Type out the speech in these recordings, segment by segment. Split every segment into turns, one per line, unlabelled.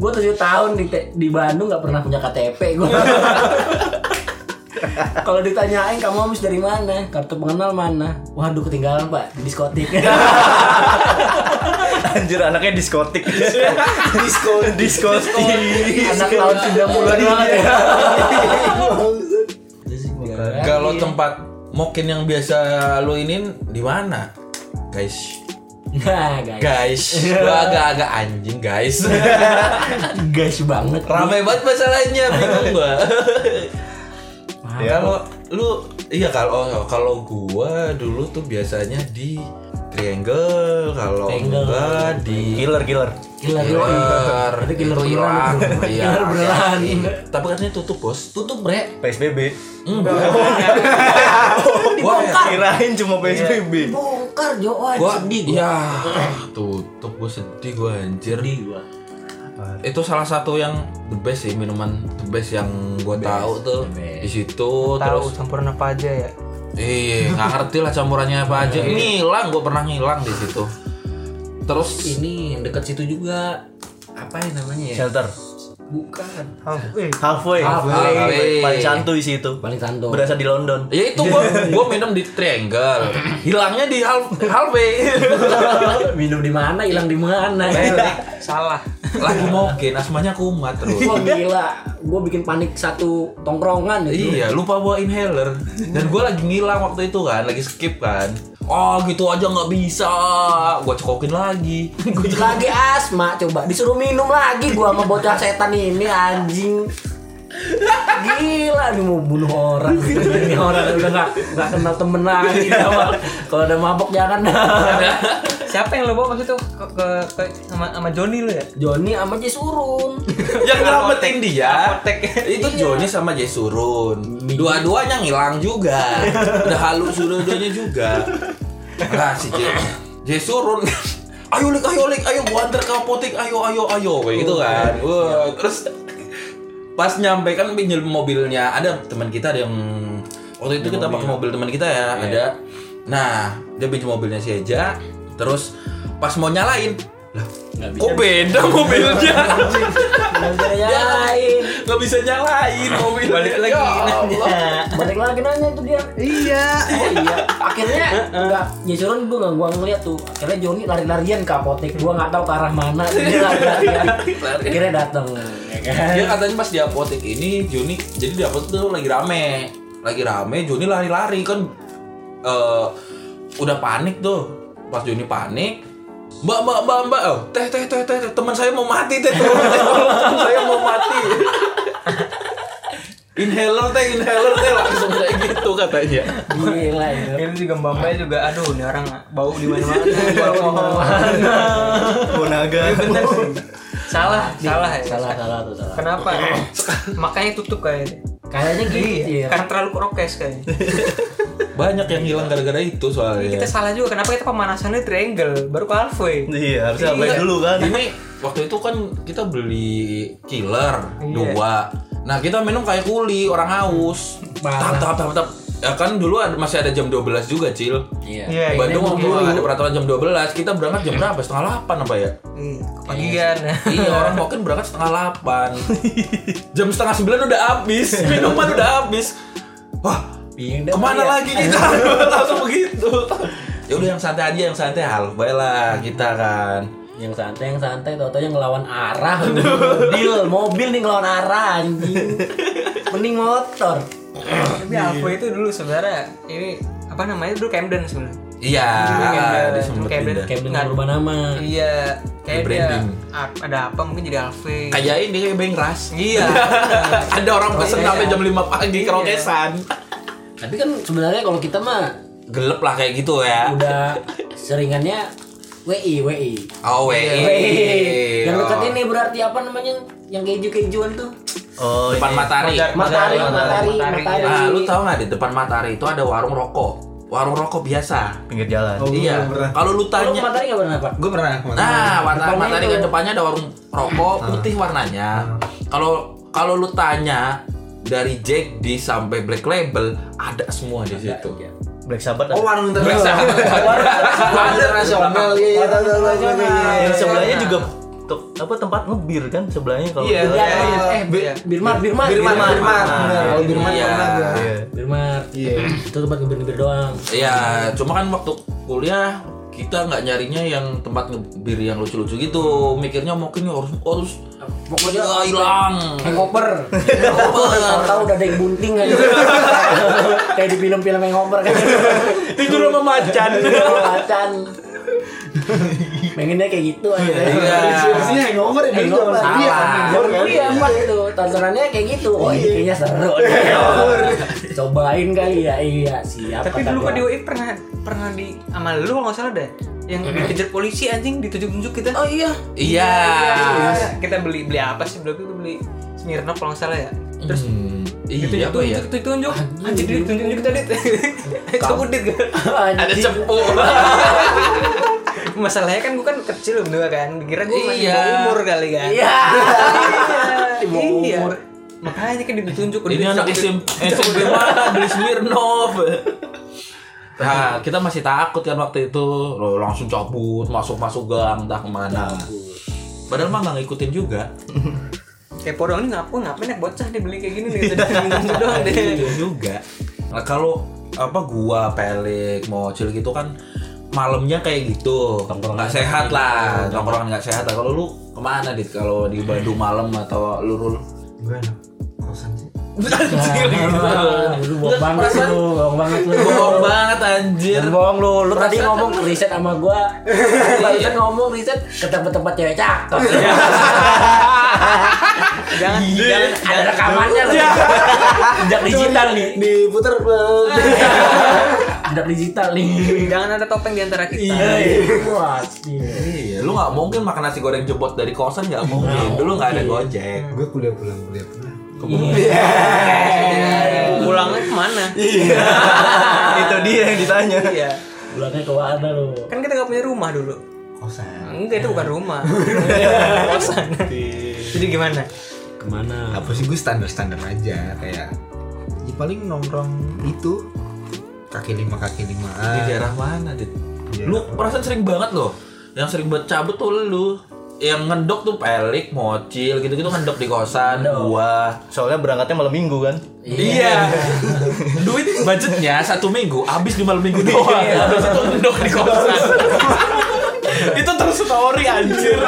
Gue tujuh tahun di, te- di Bandung nggak pernah punya KTP gue. Kalau ditanyain kamu habis dari mana, kartu pengenal mana? Waduh ketinggalan pak di diskotik.
Anjir anaknya diskotik. Disko diskotik. Iya.
Anak tahun 90-an banget ya.
Kalau tempat mokin yang biasa lu inin di mana? Guys.
Nah guys,
Guys, gua agak-agak anjing guys.
guys banget.
Ramai banget masalahnya, bingung gua. Kalau lu iya kalau kalau gua dulu tuh biasanya di Triangle, kalau
Triangle. Iya,
enggak di
Killer killer.
Killer, killer, itu killer
Itu
beneran,
hilang. Iya,
killer beneran.
hati-hati. Tapi katanya tutup, Bos.
Tutup bre,
PSBB.
Gua
Kirain cuma
Iya.
PSBB.
bongkar jo, wah
gua
sedih gua.
ya
iya.
tutup gua sedih gua anjir
Sedih gua.
itu salah satu yang the best sih minuman the best yang gua tahu tuh di situ
Tahu
terus
campuran apa aja ya?
iya nggak ngerti lah campurannya apa aja ngilang gua pernah ngilang di situ terus
Ini deket situ juga. Apa ya namanya ya?
Shelter.
Bukan.
Halfway.
Halfway.
Halfway.
Paling santuy sih itu.
Paling santuy.
Berasa di London.
ya itu gua gua minum di triangle hilangnya di hal halfway
Minum di mana, hilang di mana.
Iya.
Salah.
lagi mokin asmanya kumat terus
Wah gila, gue bikin panik satu tongkrongan ya, itu.
Iya, lupa bawa inhaler. Dan gue lagi ngilang waktu itu kan, lagi skip kan. Oh, gitu aja nggak bisa. Gue cekokin lagi. Gua cek-
Lagi asma coba disuruh minum lagi gua sama bocah setan ini anjing. Gila nih mau bunuh orang. Ini orang udah nggak nggak kenal temen lagi. sama- Kalau ada mabok jangan dah.
Siapa yang lo bawa waktu itu ke, ke, ke sama, sama Joni lo ya?
Joni sama Jisurun.
Yang nyelamatin dia.
Apotek.
Itu Joni sama Jesurun. Dua-duanya ngilang juga. Udah halus dua-duanya juga. Nah, si Je- Jesurun Ayo lik, ayo lik, ayo gua antar ke apotek, ayo ayo ayo kayak gitu kan. Wah, terus pas nyampe kan pinjam mobilnya ada teman kita ada yang waktu itu kita pakai mobil teman kita ya ada nah dia pinjam mobilnya si Eja terus pas mau nyalain lah kok beda mobilnya
Yang lain.
nggak bisa nyalain mobil
Balik lagi.
ya Allah.
Balik lagi nanya tuh dia.
Iya.
Oh iya, akhirnya enggak Jason gue enggak gua ngeliat tuh. Akhirnya Joni lari-larian ke apotek, gua enggak tahu ke arah mana. Dia lari-larian. Akhirnya datang. ya kan?
dia katanya pas di apotek ini Joni jadi di apotek tuh lagi rame lagi rame Joni lari-lari kan eh, udah panik tuh pas Joni panik Mbak, mbak, mbak, mbak, oh, teh, teh, teh, teh, teh, teman saya mau mati, teh, tolong, teh, tolong, teman saya mau mati. inhaler, teh, inhaler, teh, langsung kayak gitu katanya.
Gila itu.
Ini juga mbaknya juga aduh ini orang bau di mana-mana. Alkohol.
Bonaga.
Bener sih. Salah, salah ya.
Salah, salah tuh salah.
Kenapa? Makanya tutup kayaknya.
Kayaknya gitu ya.
Iya. Karena terlalu rokes kayaknya.
Banyak yang hilang gara-gara itu soalnya.
Kita salah juga. Kenapa kita pemanasannya triangle baru ke halfway?
Iya, harusnya sampai
Iya.
dulu kan.
Ini waktu itu kan kita beli killer
Iya.
dua. Nah kita minum kayak kuli orang haus. Tap
Parah.
tap tap tap. Ya kan dulu ada, masih ada jam 12 juga, Cil.
Iya.
Iya.
Bandung waktu
dulu.
itu ada peraturan jam 12, kita berangkat jam berapa? Setengah 8 apa ya?
Iya, kepagian.
iya, orang mungkin berangkat setengah 8. jam setengah 9 udah habis,
Iya.
minuman udah habis. Wah,
Bingung dah, Pak,
kemana
ya.
lagi kita langsung begitu ya udah yang santai aja yang santai hal lah kita kan
Yang santai, yang santai, tau yang ngelawan arah. Mobil, mobil nih ngelawan arah anjing. Mending motor.
Tapi halfway itu dulu sebenarnya ini apa namanya dulu Camden sebenarnya.
iya
Dulu Camden,
dia
dulu
sempet
Camden.
pindah.
Kayak
Nggak-
bener berubah nama.
Iya, kayak dia
Rebranding.
a- ada apa mungkin jadi halfway.
kayak ini kayak bengras
Iya.
ada orang pesen
Iya.
sampai jam 5 pagi
Iya.
kerokesan
Tapi kan sebenarnya kalau kita mah
gelap lah kayak gitu ya
udah seringannya WI, WI.
oh
Wih,
weh
iya. yang dekat
Oh.
ini berarti apa namanya yang keju-kejuan tuh
Oh,
depan
ini.
matahari
Magar-
matahari
Matahari,
matahari
matahari.
matahari
ah lu tau nggak di depan matahari itu ada warung rokok warung rokok biasa
pinggir jalan.
iya kalau lu
Kalau
tanya
matahari nggak pernah pak
Gue pernah ke mana?
Nah, warna
Depannya
matahari
itu.
kan depannya ada warung rokok putih warnanya. Kalau kalau lu tanya dari Jack D sampai Black Label ada semua di situ.
Black Sabbath.
Oh,
ada.
warung
Black
internasional.
Sabbath.
Warung internasional. Iya, iya, iya, iya, iya, iya, iya.
yang sebelahnya juga tuk- apa tempat ngebir kan sebelahnya kalau
Iya,
nggak
Iya,
salah.
iya. eh Bir-
Iya.
Birmar, Birmar.
Birman,
Birmar.
Birman.
Benar,
kalau Birman
Iya.
pernah gua.
Iya.
Birmar.
Iya.
Oh, Itu tempat ngebir-ngebir doang.
Iya, cuma kan waktu kuliah kita nggak nyarinya yang tempat ngebir yang lucu-lucu gitu. Mikirnya mungkin harus harus
Pokoknya
Ah, hilang.
hangover.
Hangover.
Tahu udah ada yang bunting aja. Kayak di film-film hangover kan.
Tidur sama macan.
Macan. Pengennya kayak gitu aja.
Iya.
Isinya hangover ya, dulu zaman
Hangover.
kuliah kan,
Salah.
hangover kan.
Iya, Pak, itu. Tontonannya kayak gitu. Oh, ini
Iya.
kayaknya seru. nih. Cobain kali ya. Iya, siap.
Tapi
kata
dulu
gua.
kan di UI pernah pernah di sama lu kalau nggak salah deh yang dikejar polisi anjing ditunjuk-tunjuk kita. Oh iya.
Iya.
Kita beli beli apa sih dulu itu beli Smirnoff kalau nggak salah ya. Terus
Hmm, Iya, apa
ditunjuk
ya?
tunjuk tunjuk anjing ditunjuk kita dit. Cabut dit kan.
Ada
Anjing.
cepu.
Masalahnya kan gue kan kecil berdua kan, dikira gue masih
Iya.
mau umur kali kan.
Iya.
Iya.
Di bawah
Iya.
umur.
Makanya kan ditunjuk.
Ini anak
ditunjuk.
SM SMP mana beli Smirnoff. Nah, kita masih takut kan waktu itu Loh, langsung cabut masuk-masuk gang entah kemana padahal mah nggak ngikutin juga
Kepo doang nih ngapain ngapain naik bocah dia beli kayak gini nih. Ditunjuk doang deh.
ngikutin juga nah, kalau apa gua pelik mau cil gitu kan malamnya kayak gitu nggak sehat lah nongkrongan nggak sehat lah kalau lu kemana dit kalau di Bandung malam atau lu rul
Gua enak. Kosan sih.
Anjir, gitu.
Ah, Lu bohong banget
Perasaan-
lu, bohong banget lu.
bohong banget anjir
Jangan bohong lu, lu tadi
Perasaan-
ngomong riset sama gua.
Iya.
Barusan ngomong riset ke tempat-tempat cewek cakep.
Jangan
Iya.
jangan
Ada rekamannya lagi. Jejak digital nih.
Diputer. eh.
Iya.
Jejak digital nih.
jangan ada topeng di antara kita.
Wah, iya.
Iya, lu nggak mungkin makan nasi goreng jebot dari kosan nggak mungkin. Dulu nggak ada gojek.
Gua kuliah pulang, kuliah pulang.
Pulangnya kemana?
Itu dia yang ditanya.
Iya.
Pulangnya ke mana lu?
Kan kita nggak punya rumah dulu.
Kosan.
Enggak itu bukan rumah. Kosan. Jadi gimana?
Kemana?
apa sih gue standar standar aja kayak ya paling nongkrong itu kaki lima kaki
Di
limaan
daerah mana, Dit?
Daerah
Lu perasaan sering banget loh. Yang sering buat cabut tuh lu. Yang ngendok tuh pelik, mocil gitu-gitu ngendok di kosan gua.
Soalnya berangkatnya malam minggu kan.
Iya. Duit budgetnya satu minggu habis di malam minggu doang. Iya, Habis itu ngendok di kosan. itu terus story anjir.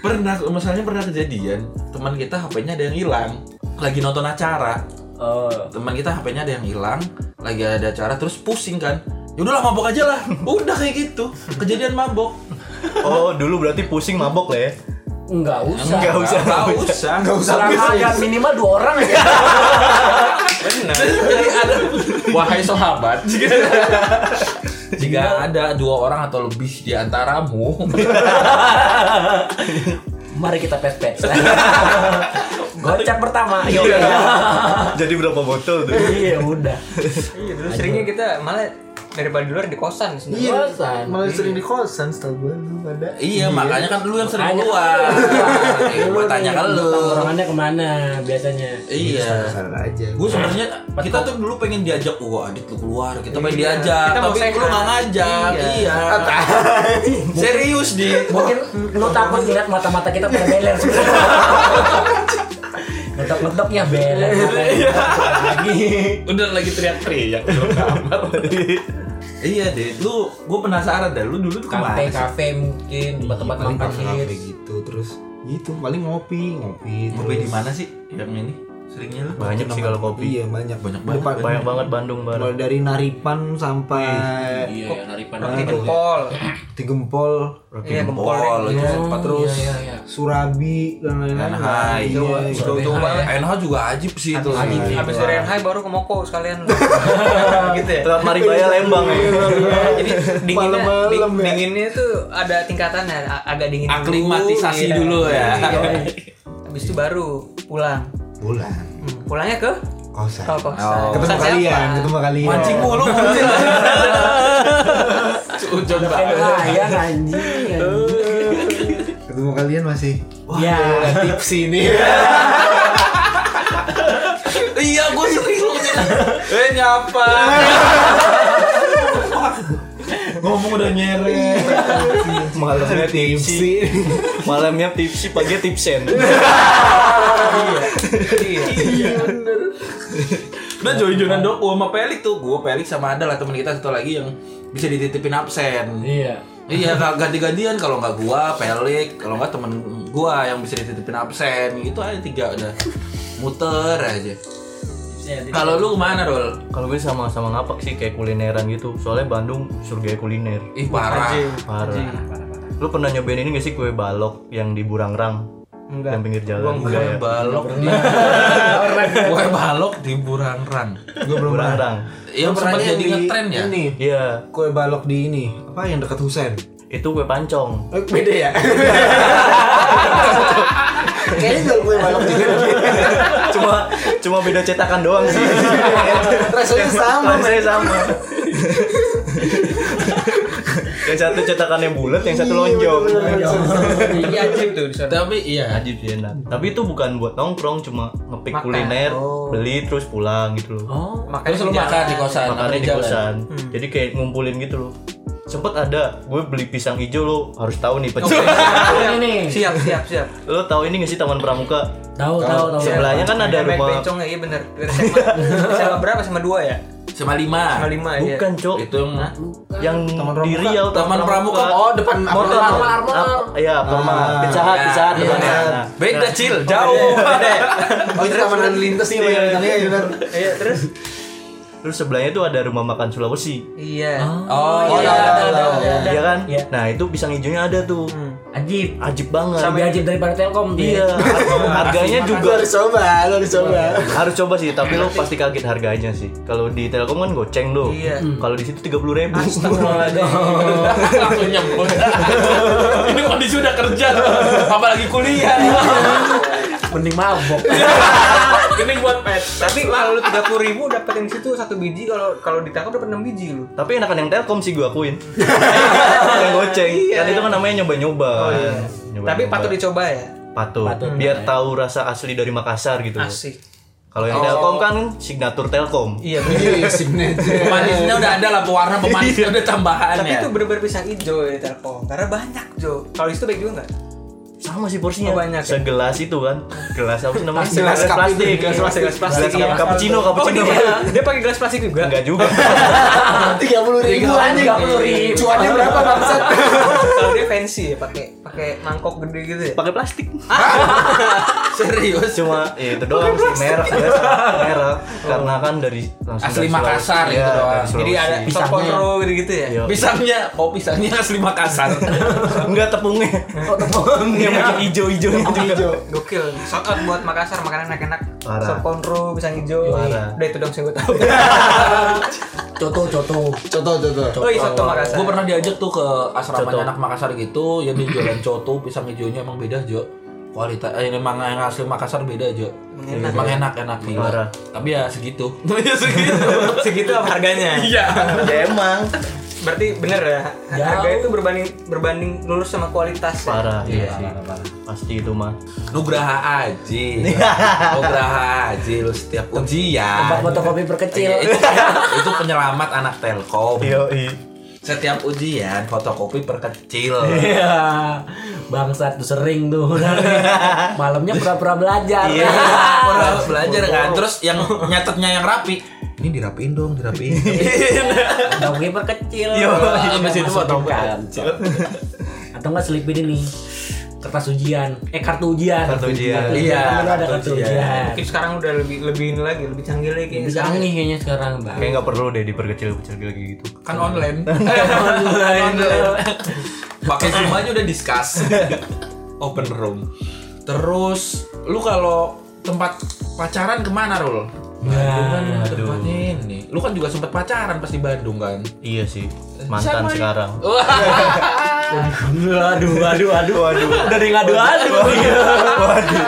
pernah misalnya pernah kejadian teman kita HP-nya ada yang hilang lagi nonton acara
Oh,
teman kita HP-nya ada yang hilang lagi ada acara terus pusing kan yaudahlah mabok aja lah udah kayak gitu kejadian mabok
Oh, dulu berarti pusing mabok lah ya.
enggak usah.
Nggak usah,
nggak
nggak
usah nggak usah
Kurang agak minimal dua orang aja.
jadi ada wahai sahabat jika, jika ada dua orang atau lebih di antaramu
Mari kita pes-pes. Gocap pertama. Yuk.
Jadi berapa botol tuh?
Iya, udah.
Iya dulu seringnya kita malah daripada di luar di kosan sebenarnya.
iya
Kosan.
malah sering di kosan setahu gue lu ada
iya makanya kan lu yang sering
Tanya.
keluar Eh, gua tanya ke lu
Tongkrongannya kemana biasanya?
iya
standar aja
gue sebenarnya kita tuh dulu pengen diajak wah adit lu keluar kita pengen
Iya.
diajak
Kita mau
tapi lu
sehat.
nggak ngajak
Iya.
iya, serius di
Mungkin lu takut ngeliat mata-mata kita pada beler sebenarnya. Ngetok-ngetok ya beler.
Iya.
Lagi.
udah lagi teriak-teriak di luar kamar iya deh lu gue penasaran dah lu dulu tuh kemana sih?
Kafe-kafe mungkin
Iya,
tempat-tempat
paling
makan
kafe kafe
hits.
gitu terus gitu paling ngopi ngopi
ngopi
terus-
di mana sih yang ini seringnya lu
Banyak sih kalau ngopi.
iya banyak
Banyak banget.
Depan-
Banyak banget Bandung
mulai
barat.
dari Naripan sampai
Iya, ya, Naripan.
Roti gempol.
Tigempol
Iya, gempol.
Bol, itu
Oh,
sempat terus
Iya, iya,
Surabi dan lain-lain
NH
Nah,
itu
iya,
itu
gitu.
itu NH juga ajib sih itu Iya.
Ajib.
Iya. Habis dari yang high baru ke Moko sekalian. gitu ya.
Lewat Maribaya Lembang ya.
Iya,
Jadi dinginnya,
Malam-malam
ding-
ya.
dinginnya tuh ada tingkatannya, a- agak dingin dulu,
aklimatisasi
iya.
dulu ya
Habis itu baru pulang.
bulan
Hmm, Pulangnya ke
kosan
kalau kosan.
Oh.
ketemu
Kosan
kalian
siapa?
ketemu kalian
mancing mulu mancing Ujon
Kayak
banget
layan anjing. anjing.
ketemu kalian masih
Ya.
tips ini
Iya, gue sering lu Eh, nyapa.
ngomong udah nyeret malamnya tipsi
Malamnya tipsi, paginya tipsen.
Udah join-joinan doku sama Pelik tuh Gue Pelik sama ada lah temen kita satu lagi yang bisa dititipin absen
Iya.
Iya nggak ganti-gantian kalau nggak gua Pelik kalau nggak temen gua yang bisa dititipin absen gitu aja tiga udah muter aja kalau lu kemana Rol?
Kalau gue sama-sama ngapak sih kayak kulineran gitu. Soalnya Bandung surga kuliner.
Ih parah
Parah. Lu pernah nyobain ini gak sih kue balok yang di Burangrang?
Enggak.
Yang pinggir jalan. Enggak ya?
balok di Gue balok di Burangrang
gue belum pernah
Burangrang.
Iya
Pernah
pernah jadi
yang di-
ngetren ya?
ini
Iya,
kue balok di ini apa yang dekat Husen
itu kue pancong.
eh, beda ya kayaknya jual kue balok juga
cuma cuma beda cetakan doang sih.
rasanya sama men.
Rasanya sama. yang satu cetakannya bulat, yang satu lonjong.
Iya anjing tuh di sana.
Tapi iya
Ajib sih enak. Tapi itu bukan buat nongkrong, cuma ngepick
Makan.
kuliner,
Oh.
beli terus pulang gitu loh.
Oh, makanya
Terus lu makan di kosan apa
makannya di
jalan?
kosan jadi kayak ngumpulin gitu loh sempet ada gue beli pisang hijau lo harus tahu nih pecel
Oh.
Ini nih.
Siap, siap, siap.
lo tahu ini nggak sih taman pramuka
Tahu tahu tahu.
sebelahnya kan ada
Bebek
rumah
bencong ya, iya bener. Dari Sama, sama berapa? Sama dua ya?
sama lima
Sama lima ya.
bukan cok
Iya. Itu yang
yang di
Pramuka.
Riau
Taman Pramuka Oh depan
motor Apa- ya permah pecah hat pecah hat
Iya,
depannya.
iya.
Nah,
Beda cil, jauh. Beda.
oh itu taman lalu lintas nih yang tadi ya
Iya, terus?
terus sebelahnya tuh ada rumah makan Sulawesi
Iya.
Ah.
Oh,
Oh,
iya.
iya, ada, ada, ada.
Iya kan
Iya.
nah itu pisang hijaunya ada tuh
Ajib.
ajib banget
Lebih ajib daripada Telkom dia.
iya harganya
gue
juga
harus coba lo harus coba
harus coba sih tapi lo pasti kaget harganya sih kalau di telkom kan goceng lo
Iya.
kalau di situ tiga puluh ribu
Langsung nyebut. Ini kondisi udah kerja, apalagi kuliah.
Mending mabok.
Ini buat pet.
Tapi kalau lu tiga puluh ribu dapat yang situ satu biji, kalau kalau ditangkap dapat enam biji lu.
tapi enakan yang telkom sih gue akuin yang goceng kan itu kan namanya nyoba nyoba
Tapi patut dicoba ya.
patut biar tahu rasa asli dari Makassar gitu loh.
Asik.
kalau yang telkom kan signatur telkom
Iya.
iya signature
Pemanisnya udah ada lah pewarna pemanisnya udah tambahan
Tapi
ya.
itu bener-bener pisang hijau ya Telkom. Karena banyak Jo. Kalau itu baik juga nggak?
sama sih porsinya
Oh, banyak ya?
segelas itu kan gelas apa sih namanya
Gelas cup
plastik
itu,
gelas
gelas
plastik
Gelas plastik.
Gelas
iya.
cappuccino cappuccino
Oh, dia, dia pakai gelas plastik juga.
enggak juga
tiga puluh ribu anjing
30.000.
cuannya berapa bangsat
kalau dia fancy ya pakai pakai mangkok gede gitu ya. Ah.
pakai plastik
serius.
cuma ya itu doang sih merek biasa merek karena kan dari langsung
Asli
dari
Makassar
Sulawesi.
gitu
Iya,
doang.
dari
Jadi ada
Sulawesi.
Pisangnya.
toporo gitu gitu ya.
Iya.
Pisangnya, oh pisangnya asli Makassar.
enggak tepungnya yang bikin hijau-hijau itu
Gokil. Shout out buat Makassar makanan enak-enak.
Parah.
Sop konro, pisang hijau.
Parah.
Udah itu dong sih gue tahu.
Coto coto.
contoh contoh
Oh, iya soto Makassar.
Gue pernah diajak tuh ke
Coto.
asramanya anak Makassar gitu, yang di jualan coto, pisang hijaunya emang beda Jo. Kualitas, eh, emang yang asli Makassar beda Jo.
Enak.
Emang enak enak gila.
Parah.
Tapi ya segitu. Ya segitu.
segitu apa harganya?
Iya.
ya emang
Berarti bener ya.
Jauh.
Harga itu berbanding berbanding lurus sama kualitas. ya?
parah iya sih pasti itu mah
Nugraha Aji. Nugraha Aji lu setiap ujian.
Tempat fotokopi perkecil.
Iya, itu, itu penyelamat anak Telkom.
yoi
Setiap ujian fotokopi perkecil.
Iya. Bangsat tuh sering tuh. Malamnya pura-pura belajar.
Iya.
Orang belajar kan. Terus yang nyatetnya yang rapi. Ini dirapiin dong, dirapiin.
Fotokopi perkecil.
Iya,
abis itu fotokopi.
kancil. Atau enggak selipin ini kertas ujian, eh kartu ujian.
Kartu ujian.
Iya,
Iya,
ada
kartu
kartu
ujian.
ujian.
Mungkin sekarang udah lebih lebih ini lagi, lebih canggih lagi.
Bisa canggih kayaknya sekarang, Bang.
kayak nggak perlu deh diperkecil-kecil lagi gitu
Kan online. online. Pakai Zoom aja udah discuss. Eh. Open room. Terus lu kalau tempat pacaran kemana Rul? Bandung kan tempatnya ini. Lu kan juga sempat pacaran pas di Bandung kan?
iya sih mantan
Sama-
sekarang
Aduh, aduh, aduh,
waduh
Dari ngadu aduh.
waduh waduh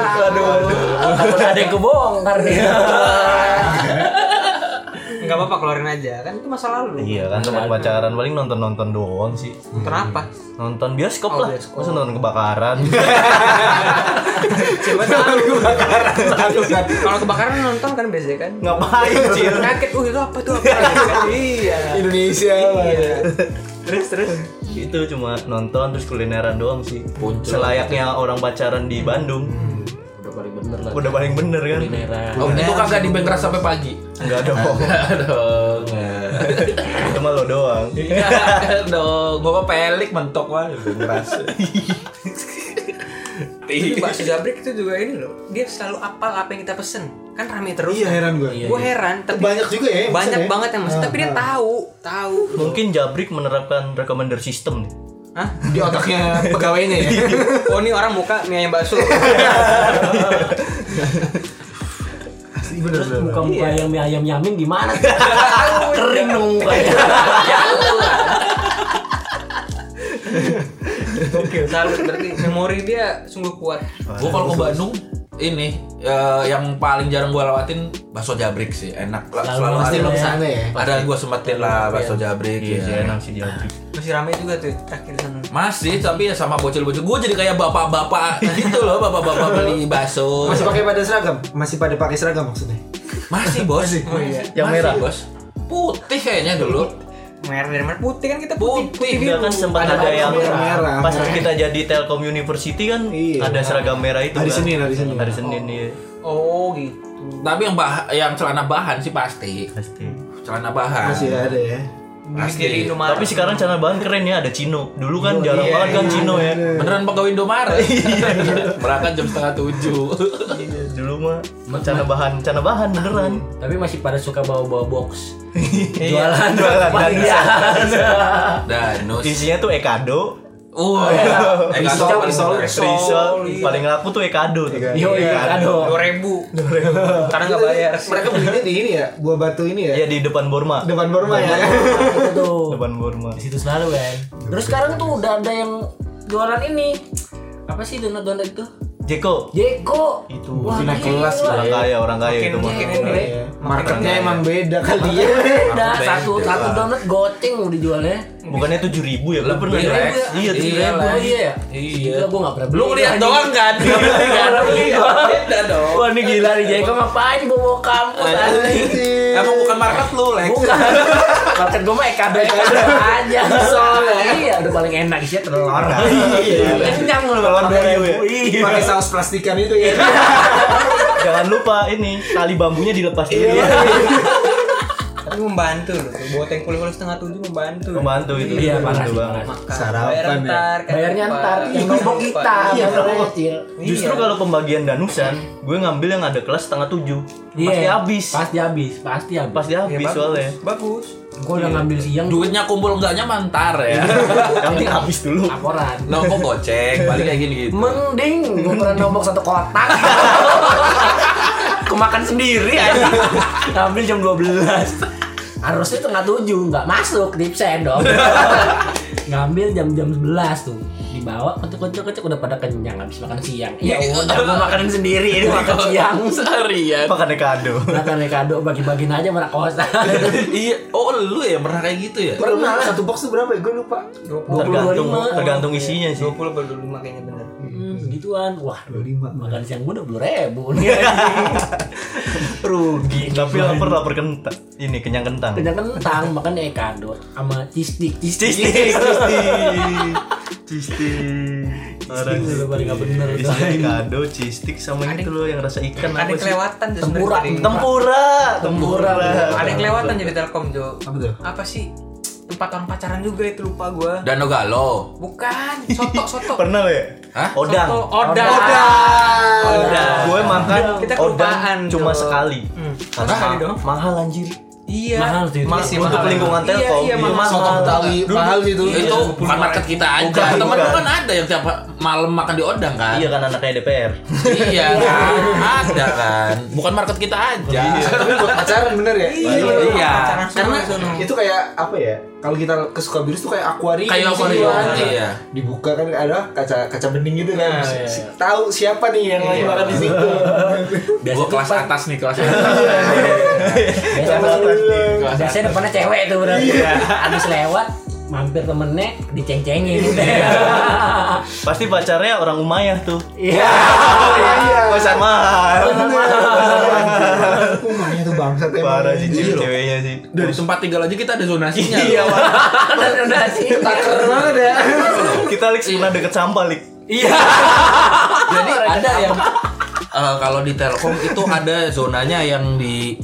Iya.
Takut ada yang kebongkar nih.
Enggak apa-apa keluarin aja. Kan itu masa lalu.
iya kan teman pacaran paling nonton-nonton doang sih
Kenapa?
nonton bioskop
Oh,
lah
bioskop.
masa nonton kebakaran
Coba tahu kebakaran. Kalau kebakaran nonton kan biasanya kan.
ngapain sih
Kaget, uh itu apa tuh apa? Iya.
Indonesia
Iya.
terus terus itu cuma nonton terus kulineran doang sih
Puncul.
selayaknya orang pacaran di Bandung
udah paling bener lah
udah paling bener kan
kulineran
Oh, itu kagak di bengkeras sampai pagi.
nggak dong
Aduh.
itu mah lo doang
Aduh, gua mah pelik mentok wah.
Tapi Mbak Jabrik itu juga ini loh Dia selalu apal apa yang kita pesen Kan rame terus
Iya heran gue.
Gue heran tapi
Banyak juga ya. yang
Banyak
pesen ya.
banget yang masuk Tapi dia tahu Tahu
mungkin Jabrik menerapkan recommender system nih
Hah?
Di otaknya
Pegawainya ya? oh ini orang muka mie ayam bakso
Asli bener
terus
bener.
muka-muka yang mie ayam yamin gimana tuh? kering dong mukanya
Salut berarti memori dia sungguh kuat
Gua kalau ke Bandung ini eh, yang paling jarang gua lewatin bakso jabrik sih enak lah
Selalu
selalu
pasti
ada
lo
kesana ya?
padahal gua sempetin lah bakso jabrik
iya
ya.
sih enak sih Jabrik
Masih rame juga tuh terakhir sana
masih tapi ya sama bocil-bocil gua jadi kayak bapak-bapak gitu loh bapak-bapak beli bakso
Masih pakai pada seragam? Masih pada pakai seragam maksudnya?
masih bos
Oh iya
Yang
Masih,
merah?
bos putih kayaknya dulu
Merah dari merah putih kan kita putih
putih
Iya kan sempat ada,
merah,
yang
merah, merah.
pas kita jadi Telkom University kan
Iya.
ada seragam merah itu
Hari
kan.
Senin, hari Senin.
hari Senin iya
Oh gitu
tapi yang bah yang celana bahan sih pasti
pasti
celana bahan
Masih ada ya.
Pasti.
Jadi Indomaret
tapi sekarang celana bahan keren ya ada Cino dulu kan jarang banget kan Cino ya
beneran pegawai Indomaret berangkat jam setengah tujuh
Iya, dulu mah cana bahan cana bahan beneran Iya.
tapi masih pada suka bawa-bawa box
jualan jualan dan
danus
Iya. isinya tuh ekado
Uh,
Risol, risol,
risol paling laku tuh ekado tuh
Ekado.
yo iya aduh
dua ribu karena nggak bayar
Mereka belinya di ini ya, buah batu ini ya.
ya di depan Borma
Depan Burma ya.
itu tuh
depan Borma
di situ selalu kan terus sekarang tuh udah ada yang jualan ini apa sih donat donat itu
Jeko
Jeko
Itu,
Wah,
itu naik
gila.
kelas,
orang kaya orang kaya itu mah
makin ini
Iya. Marketnya emang beda kali ya.
beda Eh, satu satu donat goceng udah dijualnya
bukannya tujuh ribu ya lu pernah
Lebih,
ya?
Lex.
iya
Iya,
tujuh ribu
oh
Lex.
iya ya
Iya.
Gila, gua nggak pernah
Lu
beli.
ngeliat doang kan? Nggak beli kan?
Iya.
Beda dong.
Wah ini gila nih Jeko ngapain bawa kampus anjing
Emang bukan market lu, Lex.
Bukan. Market gue mah EKB aja. Soalnya iya udah paling enak isinya telur. Kenyang lu
Telur
pakai
dua ribu,
iya.
Pakai saus plastikan itu ya.
jangan lupa ini tali bambunya dilepas dulu ya
tapi membantu loh tuh. bawa tengkul kulit setengah tujuh membantu
membantu itu
Iya,
Membantu
makasih,
banget.
makan
Sarapan
bayar
ya.
ntar kan
Bayarnya
lupa.
ntar yang nombok
Lupa.
kita.
Iya.
yang nombok kecil.
Iya.
Justru kalau pembagian danusan, gue ngambil yang ada kelas setengah tujuh,
Iya.
pasti habis,
Pasti habis, pasti habis. Iya.
pasti
Iya,
habis
bagus.
soalnya.
bagus
Iya.
Gue udah ngambil siang
Duitnya kumpul enggaknya mantar ya.
Yang penting habis dulu.
laporan.
Nombok goceng, balik kayak gini gitu.
Mending gue pernah nombok satu kotak. Kemakan sendiri aja. Ngambil jam 12. Harusnya tengah tujuh nggak masuk dipsen dong. Ngambil jam-jam 11 tuh dibawa kocok-kocok-kocok udah pada kenyang habis makan siang. Ya udah Ya gue makanin sendiri ini makan siang.
Seharian.
Makannya kado.
Makan kado bagi-bagiin aja mana kosan.
Iya, oh lu ya pernah kayak gitu ya?
Pernah lah, satu box tuh berapa ya? Gue lupa.
dua puluh
25.
Tergantung tergantung isinya sih.
dua puluh atau dua puluh lima kayaknya bener
Hmm, gituan. Wah,
25.
makan siang gue udah 20 ribu nih. anjing.
Rugi. Tapi lapar lapar kentang. Ini kenyang kentang.
Kenyang kentang makan ekado sama cheese stick. Cheese stick.
Cisti, cisti, cisti. Orang
Cisti udah paling nggak bener.
Isinya kado, cistik sama itu loh yang rasa ikan
ada
apa
yang
sih?
kelewatan tuh
Tempura,
sebenarnya.
Tempura,
Tempura.
ada
Iya.
yang kelewatan jadi telkom jo
Apa tuh?
apa sih tempat orang pacaran juga itu lupa gua
Danau Galo.
bukan soto soto
Pernah lo ya?
Hah?
Odang.
Soto odang.
Odang. Gue makan
Kita
odang
kelupaan,
cuma
Jo.
sekali.
Hmm.
Karena
Sekali dong.
Mahal anjir.
Iya.
Mahal tuh itu.
Masih
Untuk
mahal.
lingkungan
Iya,
Telkom,
Iya,
gitu.
mahal.
Soto Betawi mahal itu.
Itu Iya, bukan market kita
Bukan,
aja. Temen lu
bukan.
kan ada yang tiap malam makan di odang kan?
Iya kan anaknya DPR.
Iya kan? Ada kan? Bukan market kita aja.
Tapi buat pacaran bener ya?
Iya.
Iya.
Pacaran
Karena
semua sono.
Itu kayak apa ya? Kalau kita ke Sukabirus tuh kayak akuarium.
Kayak akuarium,
sih,
iya.
Dibuka kan ada kaca kaca bening gitu
Nah,
kan.
iya.
Si- Tahu siapa nih yang lagi makan di situ.
gua kelas atas nih kelas atas.
Biasanya, Iya.
Kelas atas nih,
biasanya depannya cewek tuh berarti. Abis lewat mampir temennya diceng-cengin udah.
Pasti pacarnya orang Umayyah tuh.
Iya.
Kosan mahal.
Rumahnya tuh bangsat emang.
Parah sih
Iya loh.
cewek-ceweknya sih.
Dari tempat tinggal aja kita ada zonasinya.
Iya,
loh.
Pak.
Udah sih.
Taker banget ya.
Kita Lex pernah deket sampah, Lik.
Iya.
Jadi ada yang eh, kalau di Telkom itu ada zonanya yang di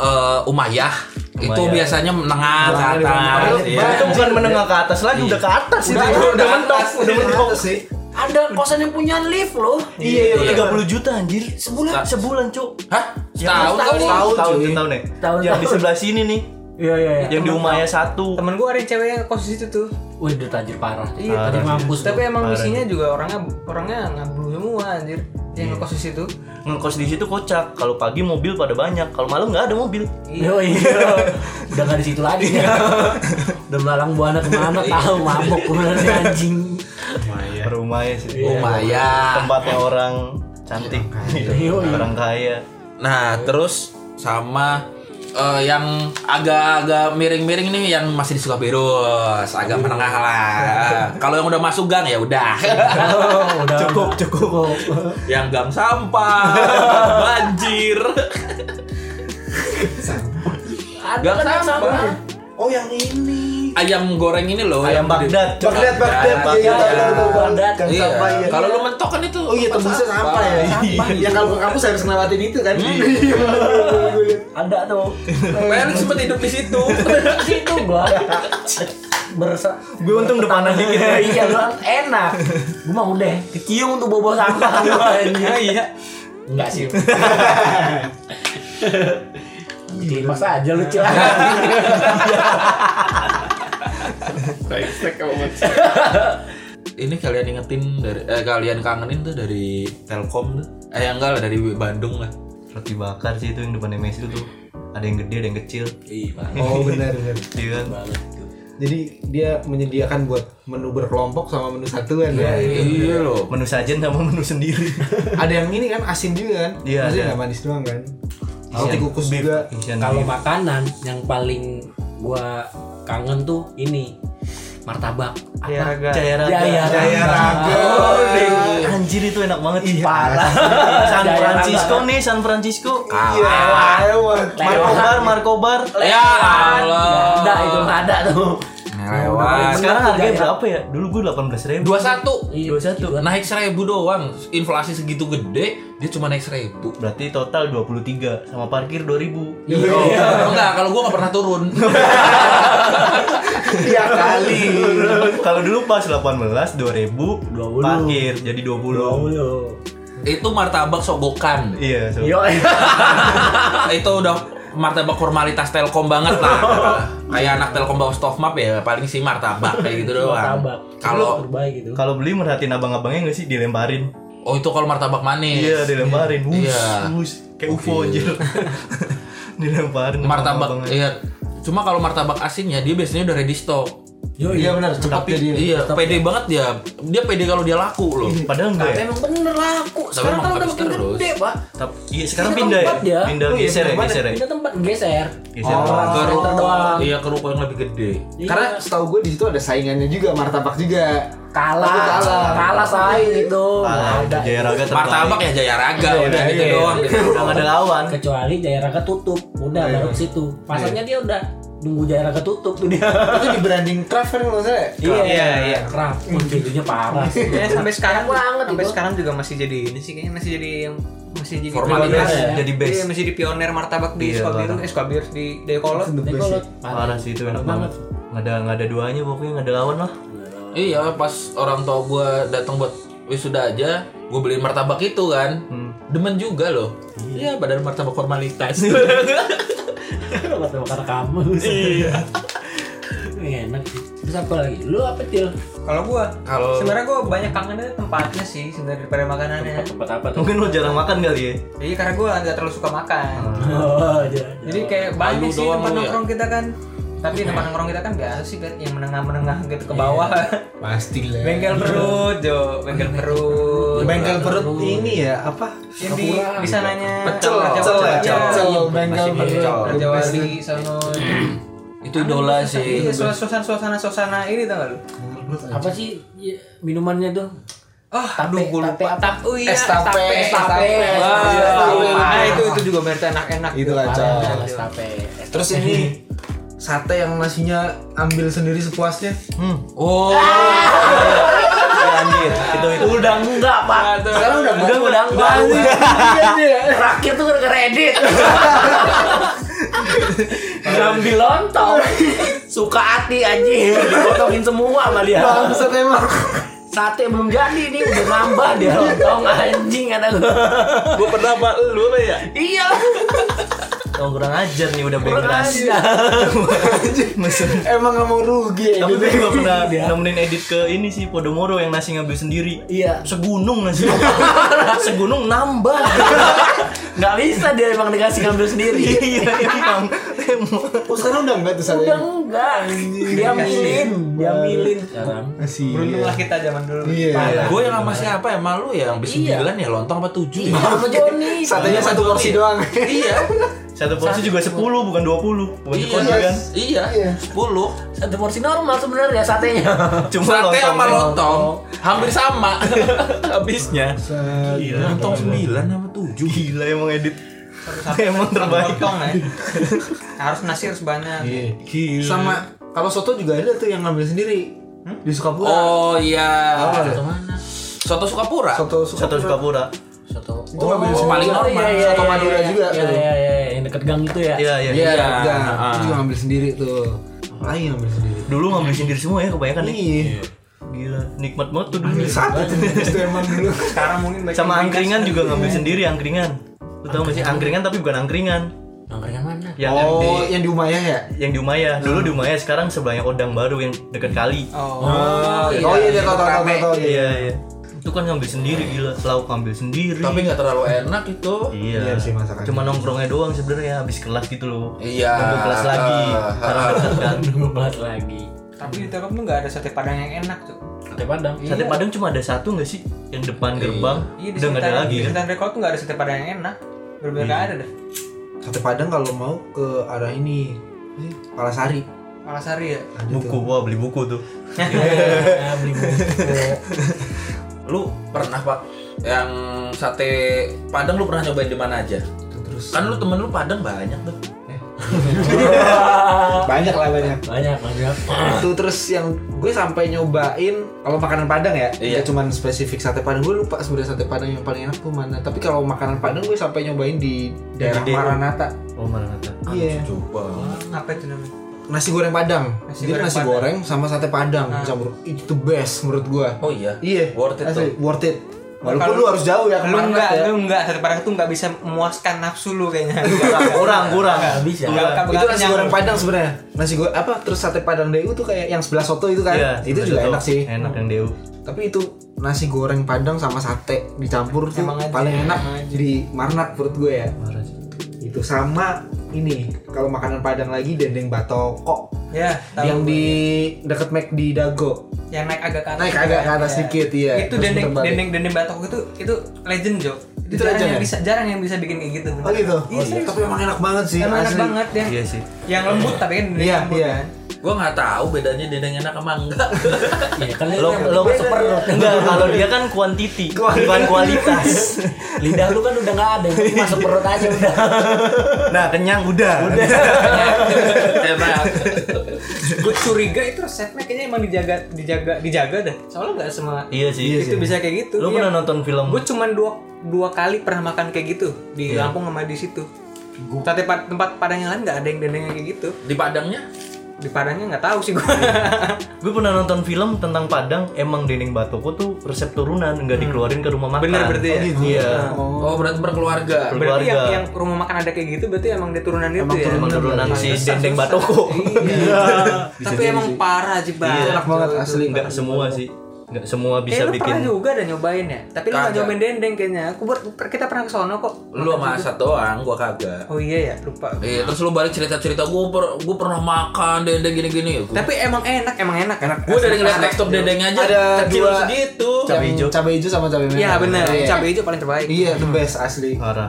eh, Umayyah. Itu
Umayyah.
biasanya menengah ke
Padahal
atas. Iya.
Itu bukan menengah ke atas lagi, udah ke atas itu.
Udah, udah
mentok,
atas.
udah mentok.
sih.
Ada kosan yang punya lift loh.
Iya, tiga puluh juta anjir.
Sebulan.
Sebulan, Cuk. Ya,
Hah? Setahun kali.
Setahun, setahun,
cuy.
setahun ya.
Tahun,
Yang di
tahun.
sebelah sini nih,
Iya iya. iya.
yang di Umayyah satu.
Temen gue ada yang cewek yang kos di situ tuh.
Wih, udah tajir parah.
Iya,
tajir mampus.
Tapi
tuh.
emang
parah
misinya juga orangnya orangnya ngablu semua anjir. Yang ngekos di situ.
Ngekos di situ kocak. Kalau pagi mobil pada banyak, kalau malam nggak ada mobil.
Yo, iya. udah gak di situ lagi. ya. udah melalang buana kemana tahu mabok bener si anjing.
Iya. Perumahan Ya. sih. ya.
Umayyah.
Tempatnya orang cantik,
Iya.
orang kaya.
Nah, terus sama eh, yang agak-agak miring-miring nih yang masih di Sukaberus, agak menengah lah. Kalau yang udah masuk gang ya udah.
Oh, udah. Cukup cukup.
yang gang sampah, banjir.
Ada
Gang
kan yang
sampah.
sama.
Oh yang ini.
Ayam goreng ini loh.
Ayam
yang gede.
iya. Baghdad.
Baghdad,
Ayam
Baghdad. Iya,
Baghdad.
iya, betul, betul.
Baghdad.
Gang
Iya.
sampah, iya.
Kalau lu mentok kan itu.
Oh iya tembusnya sampah ya.
Sampah.
Iya.
Yang kalau ke kampus harus ngelewatin itu kan.
Ada tuh.
Felix sempat hidup di situ.
Di situ gua. Bersa
Gue untung depanan dikit. ya.
iya lu enak gue mah udah kecium tuh bobo sampah gua anjing
Iya.
enggak sih
Iya.
Dilepas aja lu cil
Ini kalian ingetin dari eh, kalian kangenin tuh dari Telkom tuh. Eh enggak lah dari Bandung lah.
Roti bakar sih itu yang depannya Messi itu tuh. Ada yang gede, ada yang kecil.
Iya, Pak.
Oh benar benar.
Iya kan?
Jadi dia menyediakan buat menu berkelompok sama menu satuan ya.
Iya loh.
Menu sajen sama menu sendiri.
Ada yang ini kan asin juga kan?
Iya,
Maksudnya
ada.
nggak manis doang kan? Roti kukus juga.
Isian
kalau
beef.
makanan yang paling gua kangen tuh ini martabak
Iya, raga.
Jaya Raga.
Jaya
Jaya Raga.
Anjir itu enak banget sih.
parah
San
Jaya Raga.
Francisco nih, San Francisco.
Iya, lewat.
Marco Bar, Marco Bar.
Ya Allah.
ada itu nggak ada tuh
Lewat.
Nah, Sekarang harganya
Jaya.
berapa ya? Dulu gue 18 ribu.
21
Iya,
21.
naik seribu doang inflasi segitu gede dia cuma naik seribu
Berarti total 23 sama parkir 2000.
Iya. enggak kalau gua nggak pernah turun
Ya
Iya
kan?
kali.
Kalau dulu pas 18 2000
20.
parkir jadi 20.
Dulu.
itu martabak sogokan
Iya, so.
Yo,
itu udah martabak formalitas telkom banget lah kayak anak telkom bawa stove map ya paling sih martabak kayak gitu doang
martabak.
kalau
terbaik gitu.
Kalau beli merhatiin abang-abangnya nggak sih dilemparin?
oh itu kalau martabak manis
Iya, dilemparin. Wus,
Iya.
wus. Kayak UFO anjir. dilemparin sama
martabak
abang-abangnya.
iya cuma kalau martabak asinnya dia biasanya udah ready stock
Yo,
Iya benar, cepatnya dia.
iya pede banget dia dia pede kalau dia laku loh
Padahal enggak ya?
Emang bener laku.
Tapi
Sekarang
emang
kalau udah
habis
makin
terus.
gede, Pak.
Tapi iya, sekarang
Kita
pindah ya?
tempat ya.
Pindah
Oh iya,
geser ya,
pindah
geser ya. Oh.
Kita tempat geser.
Geser.
ke
center
ruko
doang.
iya ke ruko yang lebih gede
Iya.
Karena setahu gue di situ ada saingannya juga martabak juga.
kalah,
Tapi kalah.
kalah saing itu. Nggak
Parah,
ada.
Jaya Raga terbaik.
martabak ya jaya raga udah gitu
Iya.
doang
Udah nggak ada lawan.
Kecuali Jaya Raga tutup, udah baru ke situ. Pasarnya dia udah nunggu Jaya Raga tutup tuh dia.
Itu di branding craft kan kalau nggak salah. ya?
iya, iya. Kerap, Wah, pintunya parah. sih.
Ya, sampai sekarang
Enak banget
sampai
itu.
sekarang juga masih jadi ini sih kayaknya masih jadi yang masih jadi
Formalitas
pionir.
ya,
jadi best.
Iya, masih di pioner martabak di
Iya,
Skobirus,
parah.
eh Skobirus di Dekolot.
Itu the best
Dekolot.
sih.
Parah sih itu enak banget. Nggak ada nggak ada duanya pokoknya nggak ada lawan lah.
Iya pas orang tua gue datang buat wisuda aja gue beliin martabak itu kan demen juga loh iya badan martabak formalitas
Kenapa tuh karena kamu? Iya. Enak sih. Terus apa lagi? Lu apa, Til?
Kalau gua
Kalau-
sebenarnya gua banyak kangennya tempatnya sih sebenarnya daripada makanannya.
Tempat apa
Mungkin lo jarang makan kali ya.
Iya karena gua nggak terlalu suka makan.
Oh, Jaya-
Jadi kayak
Lu
banyak sih
doang
tempat
lu ya?
nongkrong kita kan. Tapi tempat nongkrong kita kan biasa sih Bet, yang menengah-menengah gitu ke bawah.
Pastilah.
bengkel perut, Jo, bengkel perut.
Bengkel perut ini ya apa?
Yang di di sananya
Pecel, pecel,
Pecel.
ya?
Iya.
pecel, bengkel
Masih
perut.
Raja
The best
Wali sono.
itu Itu idola sih.
Iya, suasana suasana suasana ini tau gak lu?
apa sih ya, minumannya tuh
Ah,
Tape,
aduh gue
tape
lupa.
apa?
Tap, oh
Eh,
iya,
Es tape, es tape.
Wah,
Iya, tape.
Nah, itu itu juga berarti enak-enak.
Itu lah,
Ada
Cok.
es tape
Terus ini
Sate yang nasinya ambil sendiri sepuasnya.
oh
Iya, anjir. Itu itu.
udang enggak pak sekarang udah udah udang enggak terakhir tuh ke Reddit ngambil lontong suka hati anjing dipotongin semua sama dia
Bangsat Ah, emang.
sate belum jadi nih udah nambah dia lontong anjing kata gue
Gue pernah sama lu apa ya?
iya
Oh, kurang ajar nih udah
kurang
bengkak.
aja
Mesen.
Emang gak mau rugi.
Tapi gue juga pernah nemenin edit ke ini sih Podomoro yang nasi ngambil sendiri.
iya
Segunung nasi. Segunung nambah.
nggak bisa dia emang dikasih ngambil sendiri
Iya emang. Emang.
Oh sekarang udah enggak tuh sate.
udah
Iya.
enggak dia milin dia milin
Masih.
Beruntung lah kita zaman dulu.
Iya.
gue yang sama siapa ya malu ya yang sembilan ya lontong apa tujuh
iya sama Joni
Satenya satu porsi doang.
iya
Satu porsi juga 10 bukan 20. Bukan
iya
sekolah kan.
iya sepuluh
satu porsi normal sebenarnya satenya
Cuma
sate
lontong
sama
doang.
lontong hampir sama habisnya
Sate.
lontong sembilan sama tujuh
Gila emang edit.
Satu-satu
Emang terbaik.
lontong ya. Harus nasi harus
Iya.
banyak.
Gila.
Iya. Sama kalau soto juga ada tuh yang ngambil sendiri. Di Sukapura.
oh iya
Ada.
soto Sukapura
Soto
Satu
Sukapura.
Sukapura.
soto
Itu ngambil sendiri.
paling normal.
Soto Madura juga
Oh, iya
tuh.
iya iya yang deket gang itu ya
Iya iya.
Iya.
Ada.
Ah.
Itu juga ngambil sendiri tuh. Apa Lagi yang ngambil sendiri.
Dulu ngambil sendiri semua ya kebanyakan nih.
Iya.
Gila, nikmat banget tuh dulu.
Ambil sate tuh. Itu emang dulu.
Sekarang mungkin banyak
Sama
yang
angkringan juga ngambil sendiri angkringan. Lu tau gak sih angkringan tapi bukan angkringan.
nongkrongnya mana
Yang
Oh, yang di Umayah ya?
yang di Umaya. Dulu di Umaya sekarang sebelahnya Odang baru yang dekat kali.
Oh,
Oh iya, dia tahu tahu tahu, tahu. Iya.
Iya, iya. Itu kan ngambil sendiri gila, lauk ngambil sendiri.
tapi nggak terlalu enak itu
Iya,
Iya sih, masakan.
Cuma nongkrongnya doang sebenarnya habis kelas gitu loh.
Iya.
Nunggu kelas lagi.
Ah.
Karena dekat kan.
nunggu banget lagi
tapi di Telkom tuh nggak ada sate padang yang enak tuh.
sate padang Iya.
Sate Padang cuma ada satu nggak sih? Yang depan gerbang.
Iya di
Udah nggak ada
sekitar
lagi
di
kan? Iya.
sekitar rekor tuh nggak ada sate padang yang enak. Berbeda nggak ada dah.
Sate Padang kalau mau ke arah ini. Palasari.
Palasari ya.
Buku, wah beli buku tuh.
Iya, beli buku
lu pernah pak yang sate padang lu pernah nyobain di mana aja
Terus
kan lu temen lu padang banyak tuh
banyak lah banyak.
banyak banyak
itu terus yang gue sampai nyobain kalau makanan Padang ya,
Iya.
nggak cuman spesifik sate Padang. Gue lupa sebenarnya sate Padang yang paling enak tuh mana. Tapi kalau makanan Padang gue sampai nyobain di daerah
Gede.
Maranatha.
Oh mana nata?
Ah.
Iya.
coba
Apa itu namanya?
Nasi goreng Padang.
Nasi
Jadi
goreng
nasi
Padang.
goreng sama sate Padang
Ah.
campur. Itu the best menurut gue.
oh iya
Iya.
worth it
Asli,
tuh
worth it. Walaupun
Kalau-
lu harus jauh ya
Lu
ke Maranatha
nggak,
ya.
lu nggak sate padang tuh nggak bisa memuaskan nafsu lu kayaknya.
Kurang, kurang.
Nggak bisa.
Kurang.
itu nasi goreng Padang sebenarnya. Nasi goreng apa terus sate Padang DU tuh kayak yang sebelah soto itu kan.
Iya,
itu juga
betul.
enak sih.
Enak yang Dew.
Tapi itu nasi goreng Padang sama sate dicampur tuh
Emang aja,
paling enak
emang aja.
di Marnat menurut gue ya.
Parah sih.
Itu sama ini kalau makanan Padang lagi dendeng batoko
Ya, tahu.
yang di deket Mac di Dago.
yang naik agak ke atas.
Naik agak ke atas
Iya.
sedikit, iya.
Itu
Terus
dendeng
puter balik.
dendeng dendeng batok itu itu legend, Jo. Itu,
Itu
jarang
legend
yang
ya?
bisa jarang yang bisa bikin kayak gitu.
Oh gitu.
Iya,
Oh,
serius.
Tapi emang enak banget sih.
Emang enak
asli.
banget ya.
Iya sih.
Yang lembut tapi kan dendeng
Iya,
lembut
iya.
kan.
gua nggak tahu bedanya dendeng enak sama enggak
Iya, kan
Lo lo
perut
enggak kalau dia kan kuantiti, bukan kualitas.
lidah lu kan udah nggak ada yang penting masuk perut aja udah
Nah, kenyang udah.
enak
Gue curiga itu resepnya kayaknya emang dijaga dijaga dijaga dah. Soalnya nggak semua
Iya sih.
itu bisa kayak gitu.
Lo
Iya.
pernah nonton film?
Gue cuman dua dua kali pernah makan kayak gitu di
Iya.
Lampung sama di situ. Sate pad- tempat padang yang lain nggak ada yang dendengnya kayak gitu.
di padangnya
Di padangnya nggak tahu sih gue.
Iya. Gue pernah nonton film tentang Padang, emang dinding batoko tuh resep turunan, nggak dikeluarin ke rumah makan.
Hmm. Bener berarti ya?
Iya.
oh berarti berkeluarga
Berarti yang,
Keluarga.
yang rumah makan ada kayak gitu berarti emang dia turunan itu ya.
Emang turunan si
Susah,
dendeng
susah.
batoko.
Iya. Tapi emang parah aja banget.
Iya.
Enak banget asli.
Nggak semua sih. Nggak semua
Eh,
bisa
lu pernah
bikin.
juga ada nyobain ya? Tapi lu gak
Kagak.
nyobain dendeng kayaknya. Aku buat kita pernah ke sono kok.
lu sama Asad doang gua kagak
Oh iya ya, lupa.
Iya, terus lu balik cerita-cerita gue per, gua pernah makan dendeng gini-gini.
Tapi emang enak, emang enak. kan? Enak.
Gue dari ngeliat tekstur dendengnya aja
Ada
kecil
dua-
segitu.
Cabai hijau. Cabai hijau sama cabai merah.
Iya benar,
Iya.
cabai hijau paling terbaik.
Iya, the best asli.
Parah.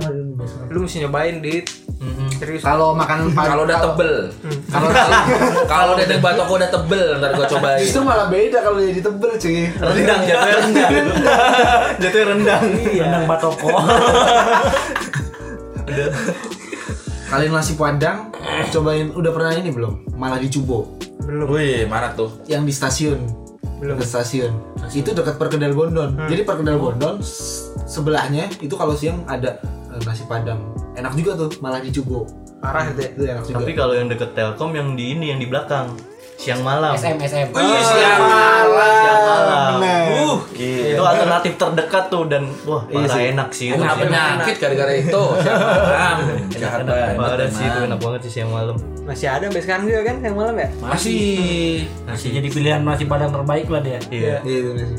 Lu mesti nyobain dit.
Mm-mm.
Serius.
Kalau makanan pagi
Kalau udah tebel. Kalau kalau udah batoko udah tebel ntar gua cobain.
Justru malah beda kalau jadi tebel cuy.
rendang jatuhnya rendang Iya. jatuhnya rendang
Rendang batoko.
Kalian nasi padang cobain udah pernah ini belum? Malah di Cubo
Wih, mana tuh?
yang di stasiun. Belum ke stasiun. Itu dekat perkedel Bondon. Jadi perkedel Bondon s- sebelahnya itu kalau siang ada eh, nasi padang. Enak juga tuh malah di Cubo
Parah itu ya.
Itu enak juga.
tapi kan- kalau yang deket telkom yang di ini yang di belakang siang malam
SM SM.
Oh, iya, siang malam.
siang malam
Bener.
uh gila. itu alternatif terdekat tuh dan wah parah enak sih itu
Kena penyakit gara-gara itu. Siang malam. Jahat banget.
parah sih itu
emang.
enak banget sih siang malam
Masih ada sampai sekarang juga kan yang malam ya?
Masih
Masih jadi pilihan nasi padang terbaik lah dia.
iya
Iya itu nasi.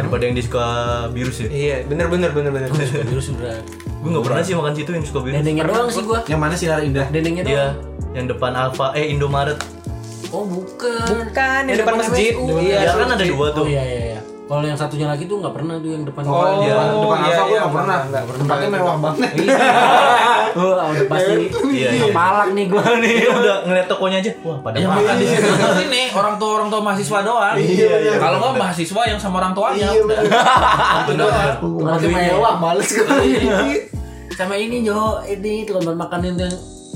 daripada yang di suka virus ya
Iya, bener bener bener bener.
Terus udah.
gue nggak pernah sih makan situ yang suka virus
Dendengnya doang sih gua.
Yang mana sinar indah?
Dendengnya doang.
Iya, yang depan Alfa eh Indomaret.
Oh, bukan.
Bukan, yang depan masjid.
Iya.
ya kan ada dua
Oh
tuh.
iya iya iya. Kalau yang satunya lagi tuh nggak pernah tuh yang depan.
Oh,
iya.
depan
iya,
Alfa gue
iya,
nggak pernah.
nggak pernah.
Tempatnya mewah banget.
Oh, udah pasti.
Iya, iya.
Kepalak nih gua nih.
Dia udah ngeliat tokonya aja. Wah, pada
yang
makan
makan di situ kan ini orang tua orang tua mahasiswa doang.
Iya, iya.
Kalau nggak mahasiswa yang sama orang tuanya.
Iya, bener.
Itu doang.
Tempatnya mewah, males gue.
Sama ini Jo, ini tuh kan makanin yang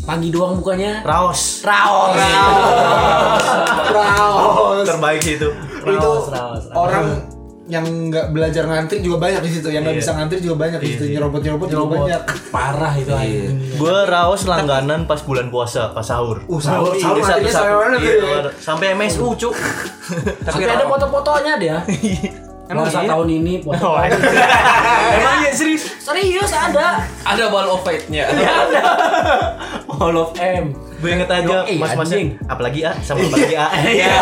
pagi doang bukannya.
Raos.
Raos. Raos.
Raos.
Terbaik sih itu.
Itu
Raos, raos, raos.
orang yang nggak belajar ngantri juga banyak di situ, yang
Iya.
nggak bisa ngantri juga banyak di situ, nyerobot nyerobot juga
Nyerobot.
banyak.
Parah itu
Iya.
anjing.
Gue Raos langganan pas bulan puasa, pas sahur.
Uh, sahur,
Iya,
sahur
satu- satu.
nantinya sampai mana tuh
Iya,
ya?
luar. Sampai MSU, cuk.
Tapi ada foto-fotonya dia. Emang
Puasa
tahun ini foto. iya,
Emang ya serius?
Serius ada.
Ada ball of fate-nya.
All of M.
Gue inget aja,
Yoi,
mas-mas
anjing.
apalagi A, sama apalagi A.
Iya.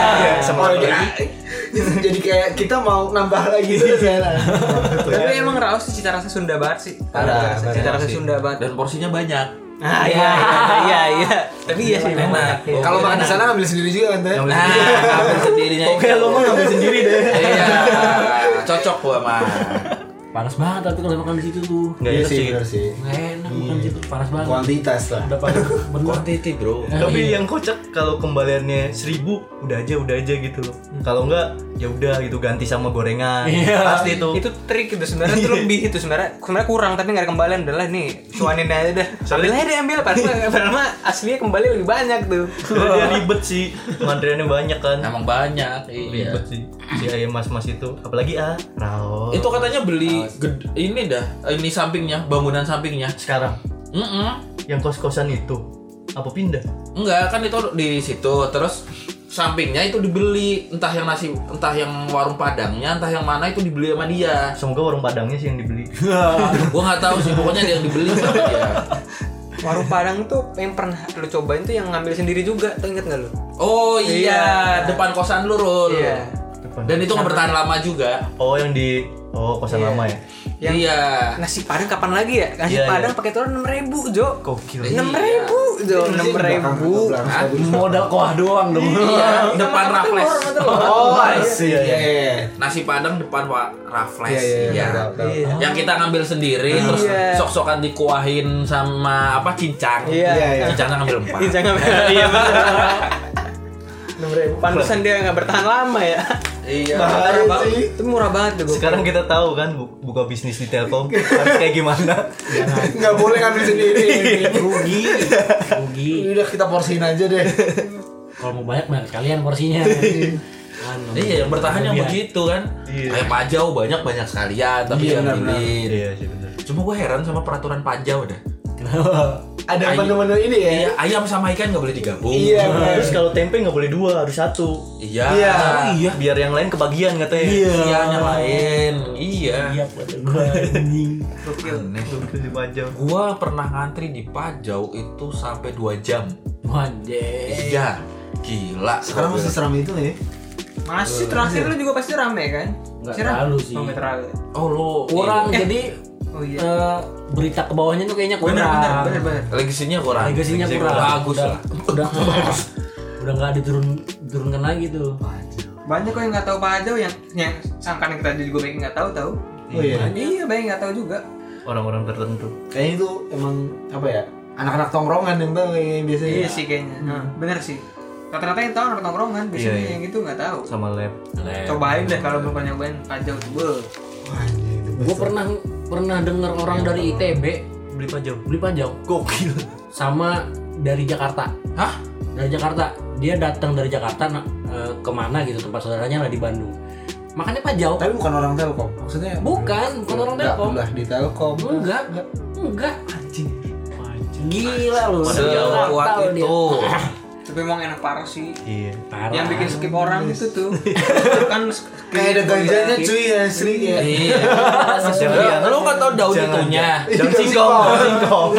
sama
Oh,
apalagi.
jadi, jadi kayak kita mau nambah lagi tuh sekarang.
Tapi
Iya.
emang Raos tuh cita rasa Sunda banget sih.
Ada,
Cita rasa- cita rasa Sunda banget.
Dan porsinya banyak.
Ah iya iya iya. iya. Tapi iya sih memang
Enak.
enak. iya.
Kalau makan di sana ambil sendiri juga kan? Teh?
Yang-
Nah, ngambil sendirinya.
Oke,
itu.
lo mah ngambil sendiri deh.
Iya, cocok gua mah.
Panas banget tapi kalau makan di situ tuh.
Nggak
Iya
enak
sih,
sih.
bener sih.
Nggak enak makan di situ panas banget.
Kuantitas lah.
Udah panas bener.
Quantity, Bro.
Eh,
Tapi
iya.
yang kocak kalau kembaliannya seribu udah aja udah aja gitu loh. Kalau enggak ya udah gitu ganti sama gorengan.
Iya.
Pasti itu.
itu Iya. trik itu sebenarnya itu lebih itu sebenarnya sebenarnya kurang tapi nggak ada kembalian adalah nih cuanin aja dah ambil aja deh ambil padahal padahal mah aslinya kembali lebih banyak tuh
Sebenarnya dia ribet sih. Antriannya banyak kan.
Emang banyak, iya.
Ribet sih. Si ayam mas-mas itu apalagi ah Rao.
Itu katanya beli ged- ini dah, ini sampingnya, bangunan sampingnya.
sekarang
Mm-mm.
yang kos-kosan itu apa pindah?
Enggak, kan itu di situ terus sampingnya itu dibeli entah yang nasi entah yang warung padangnya entah yang mana itu dibeli sama dia
Semoga warung Padangnya sih yang dibeli.
gua nggak tahu sih pokoknya ada yang dibeli sama dia
warung padang tuh yang pernah lu cobain tuh yang ngambil sendiri juga tuh inget nggak lu
oh iya depan kosan lu Rul
Iya.
dan itu nggak bertahan lama juga
Oh yang di oh kosan
Iya.
lama ya.
Yang-
iya
Ah, nasi padang kapan lagi ya nasi
Iya, iya.
padang pakai telur enam ribu jo
Gokil.
enam ribu jo iya. enam ribu
Modal kuah doang dong.
iya depan
Sama
rafles
telur, sama telur.
Oh, iya, iya, iya.
nasi padang depan wa- rafles
Iya, iya, iya.
iya
Tahu, tahu.
Iya.
yang kita ngambil sendiri terus
Iya.
sok-sokan dikuahin sama apa cincang
Iya.
Iya, iya.
cincangnya ngambil empat
Ih, jangan iya enam ribu pantesan dia nggak bertahan lama ya
iya
Murah
Bahaya
banget.
sih.
itu murah banget tuh gua.
Sekarang kita tahu kan bu- buka bisnis di Telkom harus kayak gimana.
Nggak boleh ngambil sendiri.
Rugi. Rugi.
Ini udah kita porsiin aja deh.
Kalau mau banyak banyak kalian porsinya. Kan,
Iya, yang bertahan yang begitu kan.
Iya.
Kayak Pajau banyak banyak sekalian, tapi yang
benar-benar.
pilih.
Iya sih benar.
Cuma gue heran sama peraturan Pajau dah. Ayo.
Ada menu-menu ini ya.
Iya, ayam sama ikan nggak boleh digabung.
Iya.
Terus kalau tempe nggak boleh dua, harus satu.
Iya.
Iya.
Iya. Biar yang lain kebagian katanya.
Iya, yang lain. Iya.
Iya, buat gua anjing.
Aneh.
Di pajak.
Gue pernah ngantri di Pajau itu sampai 2 jam.
Anjing.
Iya. Gila.
Sekarang masih seram itu ya.
masih terakhir lu juga pasti rame kan
Nggak
Pasti rame.
terlalu sih.
Oh, nggak terlalu
Oh lo.
Kurang
Eh.
jadi
oh iya
eh, berita ke bawahnya tuh kayaknya kurang.
bener bener bener bener
Iya. Legasinya kurang.
Legasinya
Legasi
kurang.
Bagus
udah,
lah.
Udah udah nggak diturun turunkan lagi tuh.
banyak kok yang nggak tahu pajau yang yang sangkaan kita juga banyak yang nggak tahu tahu
Oh iya.
iya banyak yang nggak tahu juga
Orang-orang tertentu.
Kayaknya itu emang apa ya? anak-anak tongkrongan yang tahu yang biasanya
Iya sih kayaknya. Nah, bener sih. Rata-rata yang tahu anak tongkrongan biasanya
Iya, iya.
yang itu nggak tahu.
sama lab
Cobain deh kalau belum pernah nyobain pajau tebel.
Wah, anjir, itu
gue pernah pernah dengar orang dari ITB
beli pajau
beli panjang
gokil
sama dari Jakarta
Hah?
dari Jakarta dia datang dari Jakarta na- eh, kemana gitu tempat saudaranya lah di Bandung makanya Pajau
Tapi bukan orang Telkom, maksudnya
bukan bukan orang
Nggak,
Telkom
udah di Telkom.
enggak enggak
anjing
gila lu Nggak
Sekuat
tahu dia.
itu.
Tapi emang enak parah sih.
iya
Parah.
Yang bikin skip orang itu tuh. Itu kan skip
Kayak ada ganjanya cuy ya, asli ya.
Iya.
Jangan.
Lu nggak tahu daun
Jangan.
itunya.
Jangan singkong, jangan singkong.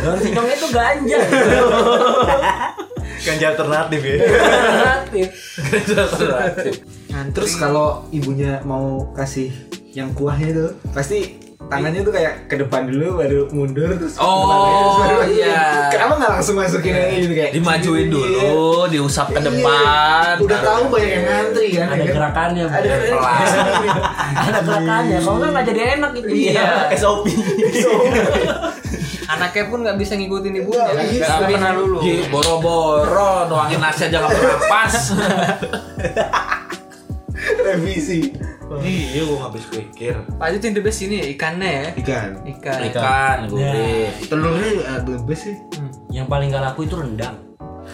Daun singkongnya itu ganja
Ganja alternatif ya.
Alternatif.
Nah,
Terus kalau ibunya mau kasih yang kuahnya tuh, pasti tangannya tuh kayak ke depan dulu baru mundur terus ke
Oh,
depan lagi, terus baru-
iya.
kenapa nggak langsung masukin aja gitu kayak
Dimajuin dulu, diusap ke
Iya.
depan.
udah tahu banyak yang ngantri kan
ada
ya kan?
gerakannya Bu.
ada
Iya, Pelan.
ada gerakannya kalau nggak nggak jadi enak gitu
Iya.
SOP.
Anaknya pun nggak bisa ngikutin ibunya.
Iya, iya.
Nggak pernah lulu.
Ji, boro-boro nuangin nasi aja nggak pernah pas.
revisi
Iya, gua habis pikir.
Pajau tuh yang the best ini ya, ikannya ya.
ikan
Ikan.
Ikan,
Iya.
gurih.
telurnya eh, the best sih
yang paling gak laku itu rendang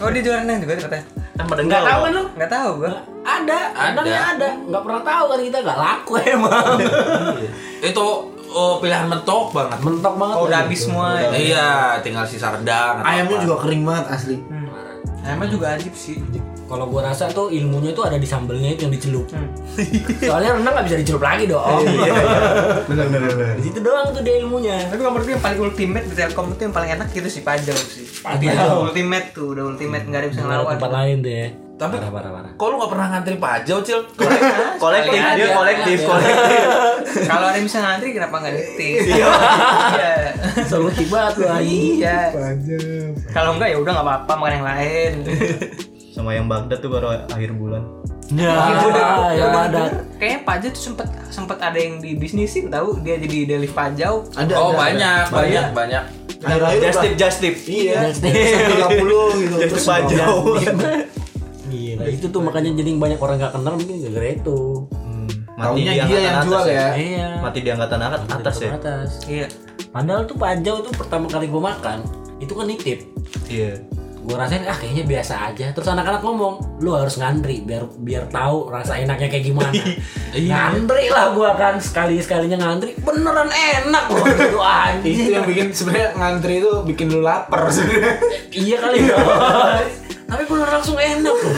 Oh dia jualan yang juga ternyata.
Kan pada enggak
tahu kan lu
Nggak tahu gua.
ada rendangnya ada nggak pernah tahu kan kita nggak laku emang
Itu oh, pilihan mentok banget.
mentok banget
Oh, udah habis semua. ya.
Iya, tinggal sisa rendang. atau
ayamnya
apa.
juga kering banget asli
Hmm. Emang juga ajib sih.
kalau gua rasa tuh ilmunya tuh ada di sambelnya itu yang dicelup soalnya rendang nggak bisa dicelup lagi dong
benar benar benar
di situ Iya. doang tuh dia ilmunya
Tapi kalau menurut gue yang paling ultimate di Telkom itu yang paling enak itu si Pajau sih.
Pajau.
Udah ultimate tuh, udah ultimate nggak ada yang bisa
Nggak ada
ngelawan.
tempat lain ya. deh
Tapi-
parah parah parah
Kok lu gak pernah ngantri pajau, Cil?
Kolektif,
Sekali
ya.
dia
aja.
kolektif,
Iya.
kolektif.
Kalau ada yang bisa ngantri kenapa nggak ngetik? Iya.
solutif banget lu anjing
Iya.
panjang
Kalau enggak ya udah nggak apa-apa makan yang lain.
Sama yang Baghdad tuh baru akhir bulan.
ya
Udah-
ya
udah-
ada
Nah, Kayaknya Pajau tuh sempet sempet ada yang dibisnisin tahu dia jadi deli Pajau.
ada
oh,
ada,
banyak,
ada.
banyak, banyak.
akhir akhir
Just tip, just tip.
iya
Just tip.
tiga puluh gitu
Just tip aja.
Gila, Nah, itu tuh makanya jadi banyak orang gak kenal mungkin gara-gara itu.
Hmm,
Taunya dia yang
angkatan
jual
atas
ya.
Iya.
Mati di angkatan atas, atas ya.
Atas.
Iya.
Padahal tuh pajau tuh pertama kali gue makan itu kan nitip.
Iya.
Gue rasain ah kayaknya biasa aja. Terus anak-anak ngomong, lu harus ngantri biar biar tahu rasa enaknya kayak gimana. ngantri lah gue kan sekali sekalinya ngantri beneran enak loh itu anjing.
itu yang bikin sebenarnya ngantri itu bikin lu lapar sebenarnya
iya kali ya. Tapi bener langsung enak loh.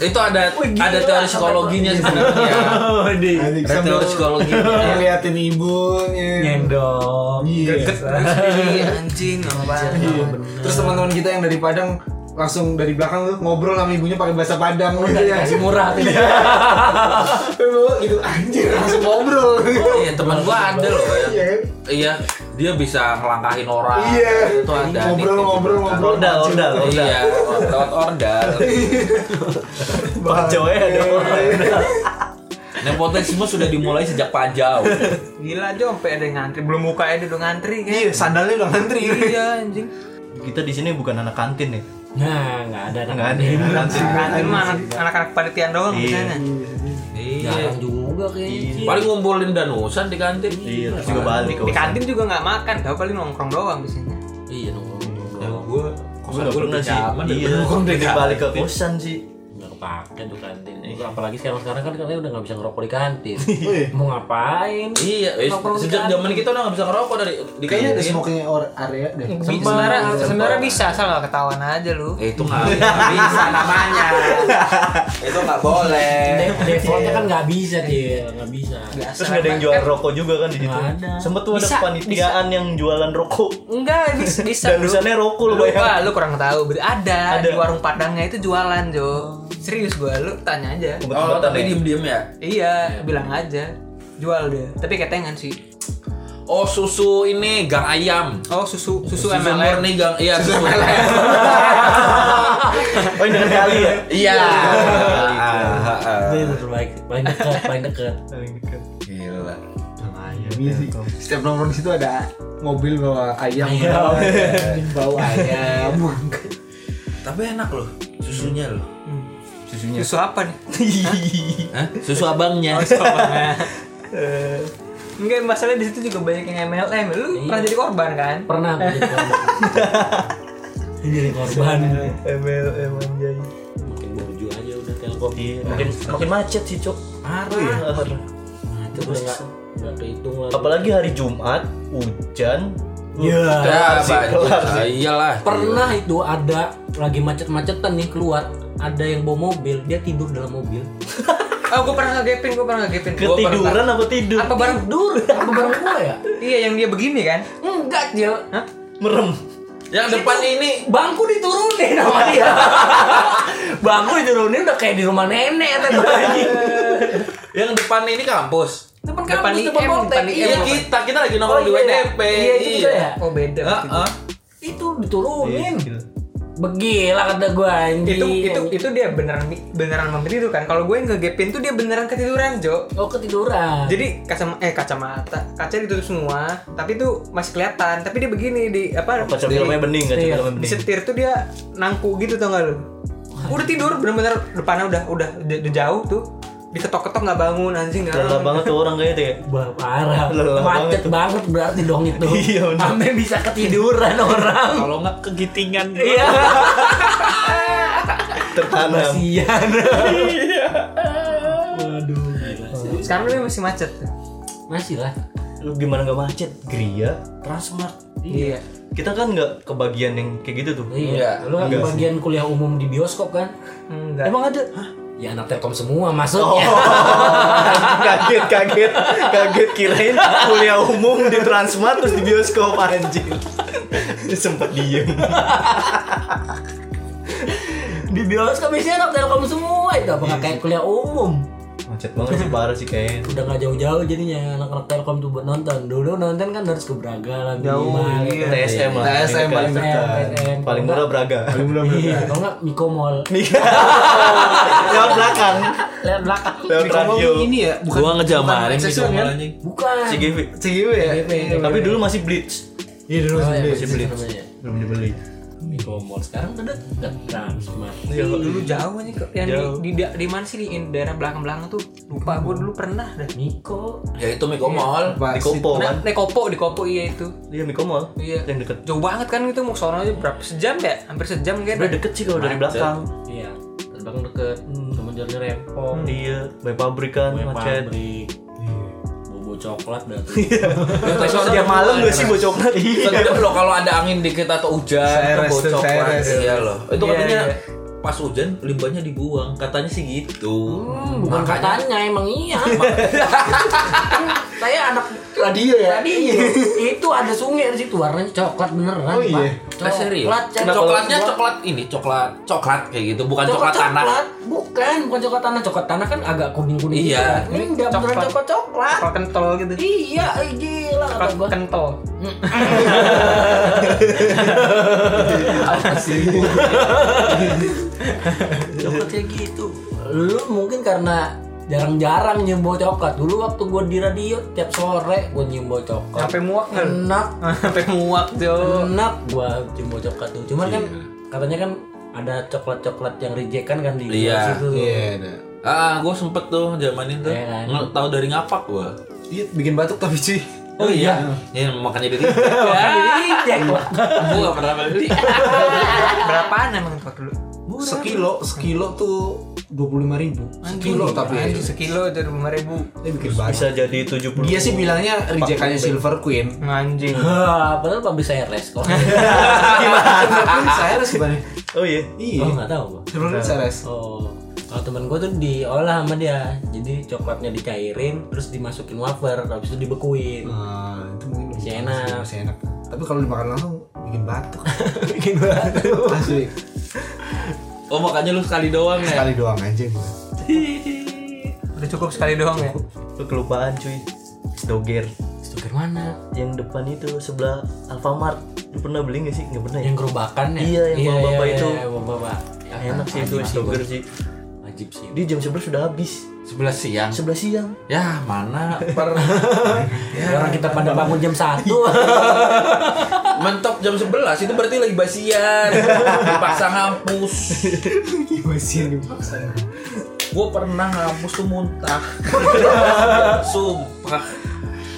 Itu ada
Wih, gila,
ada teori
sampai
psikologinya
gua-
Iya, sebenarnya.
Oh, Anjing,
Ada
sambil
teori psikologinya.
ngeliatin ibunya
Ngendong.
Iya.
Ini anjing apa?
Iya. Terus teman-teman kita yang dari Padang langsung dari belakang tuh ngobrol sama ibunya pakai bahasa Padang gitu ya.
Kasih murah tuh.
gitu anjir langsung ngobrol.
Iya, teman gua ada loh yang
Iya kan?
Iya, dia bisa ngelangkahin orang.
Iya.
Itu ada. nitip
Ngobrol ngobrol
juga.
ngobrol.
Ordal, ordal, ordal.
Iya, lewat order.
Pajau ya
Iya.
ada orang.
Nepotisme sudah dimulai sejak pajau.
Gila aja sampai ada yang ngantri, belum buka ada udah ngantri kan.
Iya, sandalnya udah ngantri.
Iya anjing.
Kita di sini bukan anak kantin ya.
Nah, nggak ada anak
Enggak ada ya.
aneh.
anak
Iya,
kantin.
Kantin mah anak- anak-anak panitian doang
Iya.
misalnya.
Iya.
Jarang juga kayaknya.
Paling ngumpulin danusan di kantin.
Iya, terus juga balik
Di kantin juga nggak makan, tau paling nongkrong doang di sini.
Iya nongkrong.
Ya gue
Kosan
gue gak
gua
pernah
lebih
sih.
nyaman
Iya,
daripada kosan
lebih
PKL.
balik ke kosan sih.
nggak kepake tuh kantin apalagi sekarang sekarang kan katanya udah nggak bisa ngerokok di kantin
Iya.
mau ngapain
Iya, eh,
Nongkrong di
sejak
kantin.
zaman kita udah nggak bisa ngerokok dari di
Kayaknya ada
kantin.
smoking or- area deh.
Sempat.
Sebenarnya
Sempat.
sebenarnya bisa asal nggak ketahuan aja lu.
Eh, itu nggak nggak bisa namanya. itu nggak boleh.
De- defaultnya kan nggak bisa dia nggak bisa
Terus gak ada yang jual rokok juga kan di situ.
Nggak ada.
Sempet tuh ada
Bisa,
kepanitiaan yang jualan rokok.
Enggak bisa bisa.
Dan
lu.
lusannya rokok lu
Lupa,
bayangin.
lu kurang tahu. Ber- Ada,
Ada.
di warung Padangnya itu jualan, Jo. Serius gua, lu tanya aja.
Oh,
Obat-obatan
tapi
ya.
diem-diem ya.
Iya, bilang aja. Jual dia. Tapi ketengan sih.
Oh, susu ini gang ayam.
Oh, susu susu
Susu
MLM.
murni gang iya susu MLM.
Oh, ini dengan kali ya.
Iya.
Iya. itu yang terbaik paling dekat paling dekat
Paling dekat.
Gila.
iya,
misi.
Telkom.
Setiap nongkrong di situ ada mobil bawa ayam, bawa, bawa ayam.
Tapi enak loh susunya loh.
susunya
Susu apa nih?
Hah? Susu abangnya.
Eh, Enggak, masalahnya di situ juga banyak yang MLM. Lu pernah jadi korban kan?
Pernah aku jadi korban. jadi korban.
MLM anjay
Makin borju aja udah Oh iya. telkom.
Iya.
Makin
makin macet sih cok
parah. Macet udah Nah, nggak nggak kehitung lagi.
apalagi hari Jumat hujan
Iya.
Ya,
sih, kelar
banjir.
sih.
Iyalah.
Pernah itu ada lagi macet-macetan nih keluar ada yang bawa mobil dia tidur dalam mobil
Oh, gue pernah ngegepin, gue pernah ngegepin. Gua pernah-
ketiduran apa tidur
Apa bareng?
tidur apa bareng gua ya
Iya, yang dia begini kan?
enggak Jel
Hah?
merem
Yang depan ini
bangku diturunin sama dia bangku diturunin udah kayak di rumah nenek tadi pagi
yang depan ini kampus.
depan
Depan
kampus
IM,
depan
depan
poltek
IM.
iya
Iya kita kita lagi nongkrong
Oh,
di
iya.
WDP.
Iya, itu juga ya?
Oh, beda. berarti.
Heeh.
itu
Iya,
diturunin
gitu.
begila kata gua anjing
Itu itu itu dia beneran beneran memberi itu kan. Kalau gue yang ngegepin tuh dia beneran ketiduran, Jo.
oh ketiduran
Jadi kacama eh kacamata kaca ditutup semua, tapi itu masih kelihatan. Tapi dia begini di apa?
kaca
di-
filmnya bening kaca
Iya.
filmnya
di
bening
setir tuh dia nangku gitu tau gak lu udah tidur bener-bener depannya udah udah udah, udah jauh tuh diketok-ketok nggak bangun anjing nggak
lelah
bangun.
banget tuh orang kayaknya tuh ya
Bah, parah
Lelah
macet banget, berarti dong itu
Iya, bener.
sampai bisa ketiduran orang
kalau nggak kegitingan
iya
tertanam
kasihan waduh gila sih.
sekarang dia masih macet
masih lah
lu gimana nggak macet Gria
Transmart.
iya
kita kan nggak kebagian yang kayak gitu tuh
Iya, lu kan
Enggak
bagian kuliah umum di bioskop kan?
enggak
emang ada
Ya anak Telkom semua masuknya.
kaget kaget kaget kirain kuliah umum di Transmart terus di bioskop anjing sempet diem
di bioskop isinya anak Telkom semua itu apa nggak kayak kuliah umum?
macet banget sih parah sih kayaknya
Udah nggak jauh-jauh jadinya anak-anak Telkom tuh buat nonton. Dulu nonton kan harus ke Braga lah.
Jauh,
minimal.
iya.
TSM lah kan
TSM paling
dekat.
TSM.
paling murah Braga
Paling belum
Iya, kalau nggak Miko Mall.
lewat belakang
Lihat belakang.
lewat radio
ini ya, bukan
Gua ngejamarin
bukan
gitu
session, kan?
anjing.
Bukan.
CGV
CGW ya.
CGW.
tapi dulu masih Blitz
Iya dulu
Oh, ya,
sendiri.
masih beli. namanya.
belum dibeli
Miko Mall sekarang udah deket Transmart.
Ih, dulu jauh aja kok yang
Jauh.
di, di, da- di mana sih di daerah belakang belakang tuh lupa gue dulu pernah dah
Miko
Ya itu Miko Mall.
di
Pak,
Kopo
nah,
kan
di kopo di kopo iya itu
iya Miko Mall
Iya.
yang deket
jauh banget kan gitu mau ke sono aja berapa sejam ya hampir sejam kan
udah deket sih kalau dari belakang
Iya, terbang deket, cuma jalannya repot,
iya by pabrik kan
kue
macet
pabrik, bobo coklat dah tuh.
Stasiun
Dia malam gak sih bocokan
Sedap Iya. kan loh kalau ada angin dikit atau
Saya
hujan
rest,
itu bocok
saya
lah.
rest.
Iya loh. Itu
Iya,
katanya
iya.
pas hujan limbahnya dibuang. Katanya sih gitu.
Hmm, bukan katanya emang iya. Saya anak
Radio ya.
radio. itu ada sungai di situ warnanya coklat beneran,
Oh, iya.
Pak.
Ah, serius?
Coklat,
Nah, coklatnya coklat ini, coklat coklat kayak gitu, bukan coklat, tanah.
Bukan, bukan coklat tanah. Coklat tanah kan agak kuning-kuning
Iya.
gitu. Ini enggak beneran
Coklat.
coklat coklat.
Kalau kental gitu
Iya, eh, gila kata
Kalau
gua.
kental
coklat kayak gitu lu mungkin karena jarang-jarang nyium bau coklat dulu waktu gua di radio tiap sore gua nyium bau coklat
sampai muak nggak lu?
enak
sampai muak Jo
enak gua nyium bau coklat tuh cuman kan katanya kan ada coklat-coklat yang rejectan kan di
Iya.
situ
Iya, nah.
Ah, gue sempet tuh zaman itu.
Iya kan?
Nggak tahu dari ngapak gua.
Iya, bikin batuk tapi cuy.
Oh, iya. Ya makanya dari
Kan di reject lah
Gua gak pernah beli.
berapaan emang tuh dulu
Sekilo, sekilo tuh 25.000 ribu. Sekilo tapi ya.
Anjing, sekilo itu dua ribu
Dia bikin batuk.
bisa jadi 70
Dia sih bilangnya rejectannya Silver Queen.
anjing
Hah, padahal pabrik saya res kok
Silver Queen Cyrus gimana?
oh iya
Iya.
oh nggak tahu gua
Silver Queen Cyrus.
oh kalau temen gua tuh diolah sama dia jadi coklatnya dicairin terus dimasukin wafer habis itu dibekuin
Ah, itu mungkin
Masih enak.
Masih enak. Tapi kalau dimakan langsung bikin batuk.
bikin baru
Asli.
Oh, makanya lu sekali doang ya.
Sekali doang aja gitu.
udah cukup sekali doang ya
Lu kelupaan cuy Doger
Stiker mana?
yang depan itu sebelah Alfamart lu pernah beli gak sih nggak pernah ya
yang gerobakan ya?
Iya, yang bapak-bapak itu. Iya.
bapak-bapak.
enak sih itu
Wajib,
Doger sih
Ya, kan? Wajib sih.
dia jam 11 sudah habis
Sebelas siang.
Sebelah siang.
Ya mana per
Orang kita pada bangun jam 1
mentok jam 11 itu berarti lagi basian dipaksa ngampus
Masih dipaksa.
gue pernah ngampus tuh muntah sumpah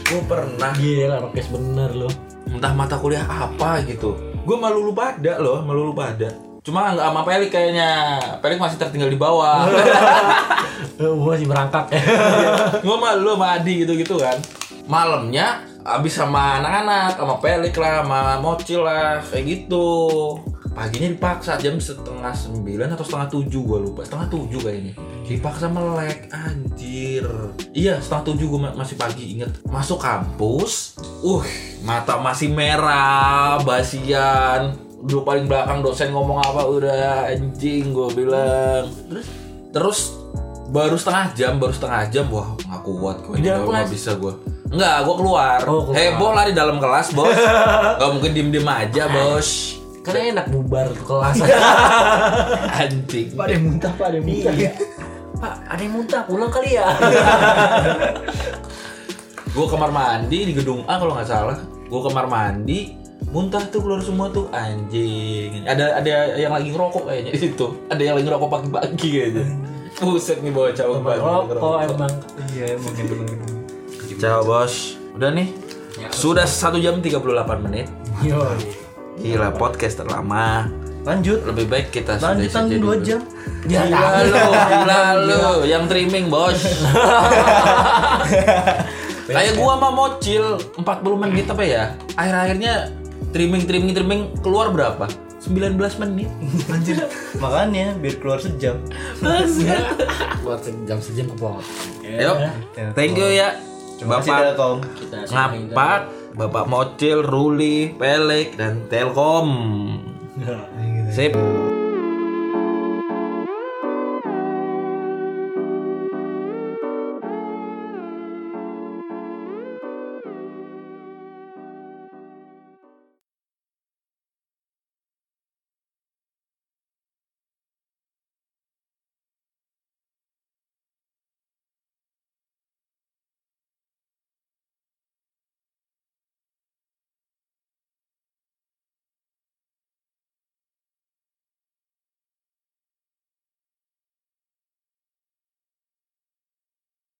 gue pernah
Gila rokes bener lu
entah mata kuliah apa gitu gue malu lupa ada loh malu lupa ada cuma nggak sama Pelik kayaknya Pelik masih tertinggal di bawah
Eh, Gua masih merangkak
gue malu sama Adi gitu gitu kan malamnya abis sama anak-anak sama Pelik lah sama Mocil lah kayak gitu paginya dipaksa jam setengah sembilan atau setengah tujuh gue lupa setengah tujuh kayaknya dipaksa melek anjir iya setengah tujuh gue masih pagi inget masuk kampus uh mata masih merah basian dulu paling belakang dosen ngomong apa udah anjing gue bilang terus terus baru setengah jam baru setengah jam wah nggak kuat gue
Di dalam
nggak
kelas?
bisa gue Enggak, gue keluar.
Oh, keluar.
Heboh lah di dalam kelas, bos. Gak mungkin diem-diem aja, bos.
Karena enak bubar tuh kelas
Anjing.
Pak ada yang muntah, Pak ada
Iya,
yang muntah.
Pak ada yang muntah pulang kali ya
Gue kamar mandi di gedung A kalau nggak salah. Gue kamar mandi, muntah tuh keluar semua tuh anjing. Ada ada yang lagi ngerokok kayaknya di situ. Ada yang lagi ngerokok pagi-pagi kayaknya. Buset nih bawa cowok pagi
Rokok Oh, emang
Iya, emang yang bener.
Ciao bos. Udah nih. Sudah 1 jam 38 menit.
Yo
Gila podcast terlama.
Lanjut.
Lebih baik kita sudah
Lanjutan
saja
dua
dulu.
jam. Iya.
Ya
Gila lu, gila lu, yang trimming bos. Kayak gua sama Mocil 40 menit apa ya? Akhir-akhirnya trimming trimming trimming keluar berapa? 19 menit.
Anjir. Makanya biar keluar sejam.
Buat sejam sejam kepotong
Yuk.
Iya,
Thank you ya.
Terima kasih
Bapak
Telkom.
Kita sampai-
Ngapak, Bapak Mocil, Ruli, Pelek dan Telkom. Sip.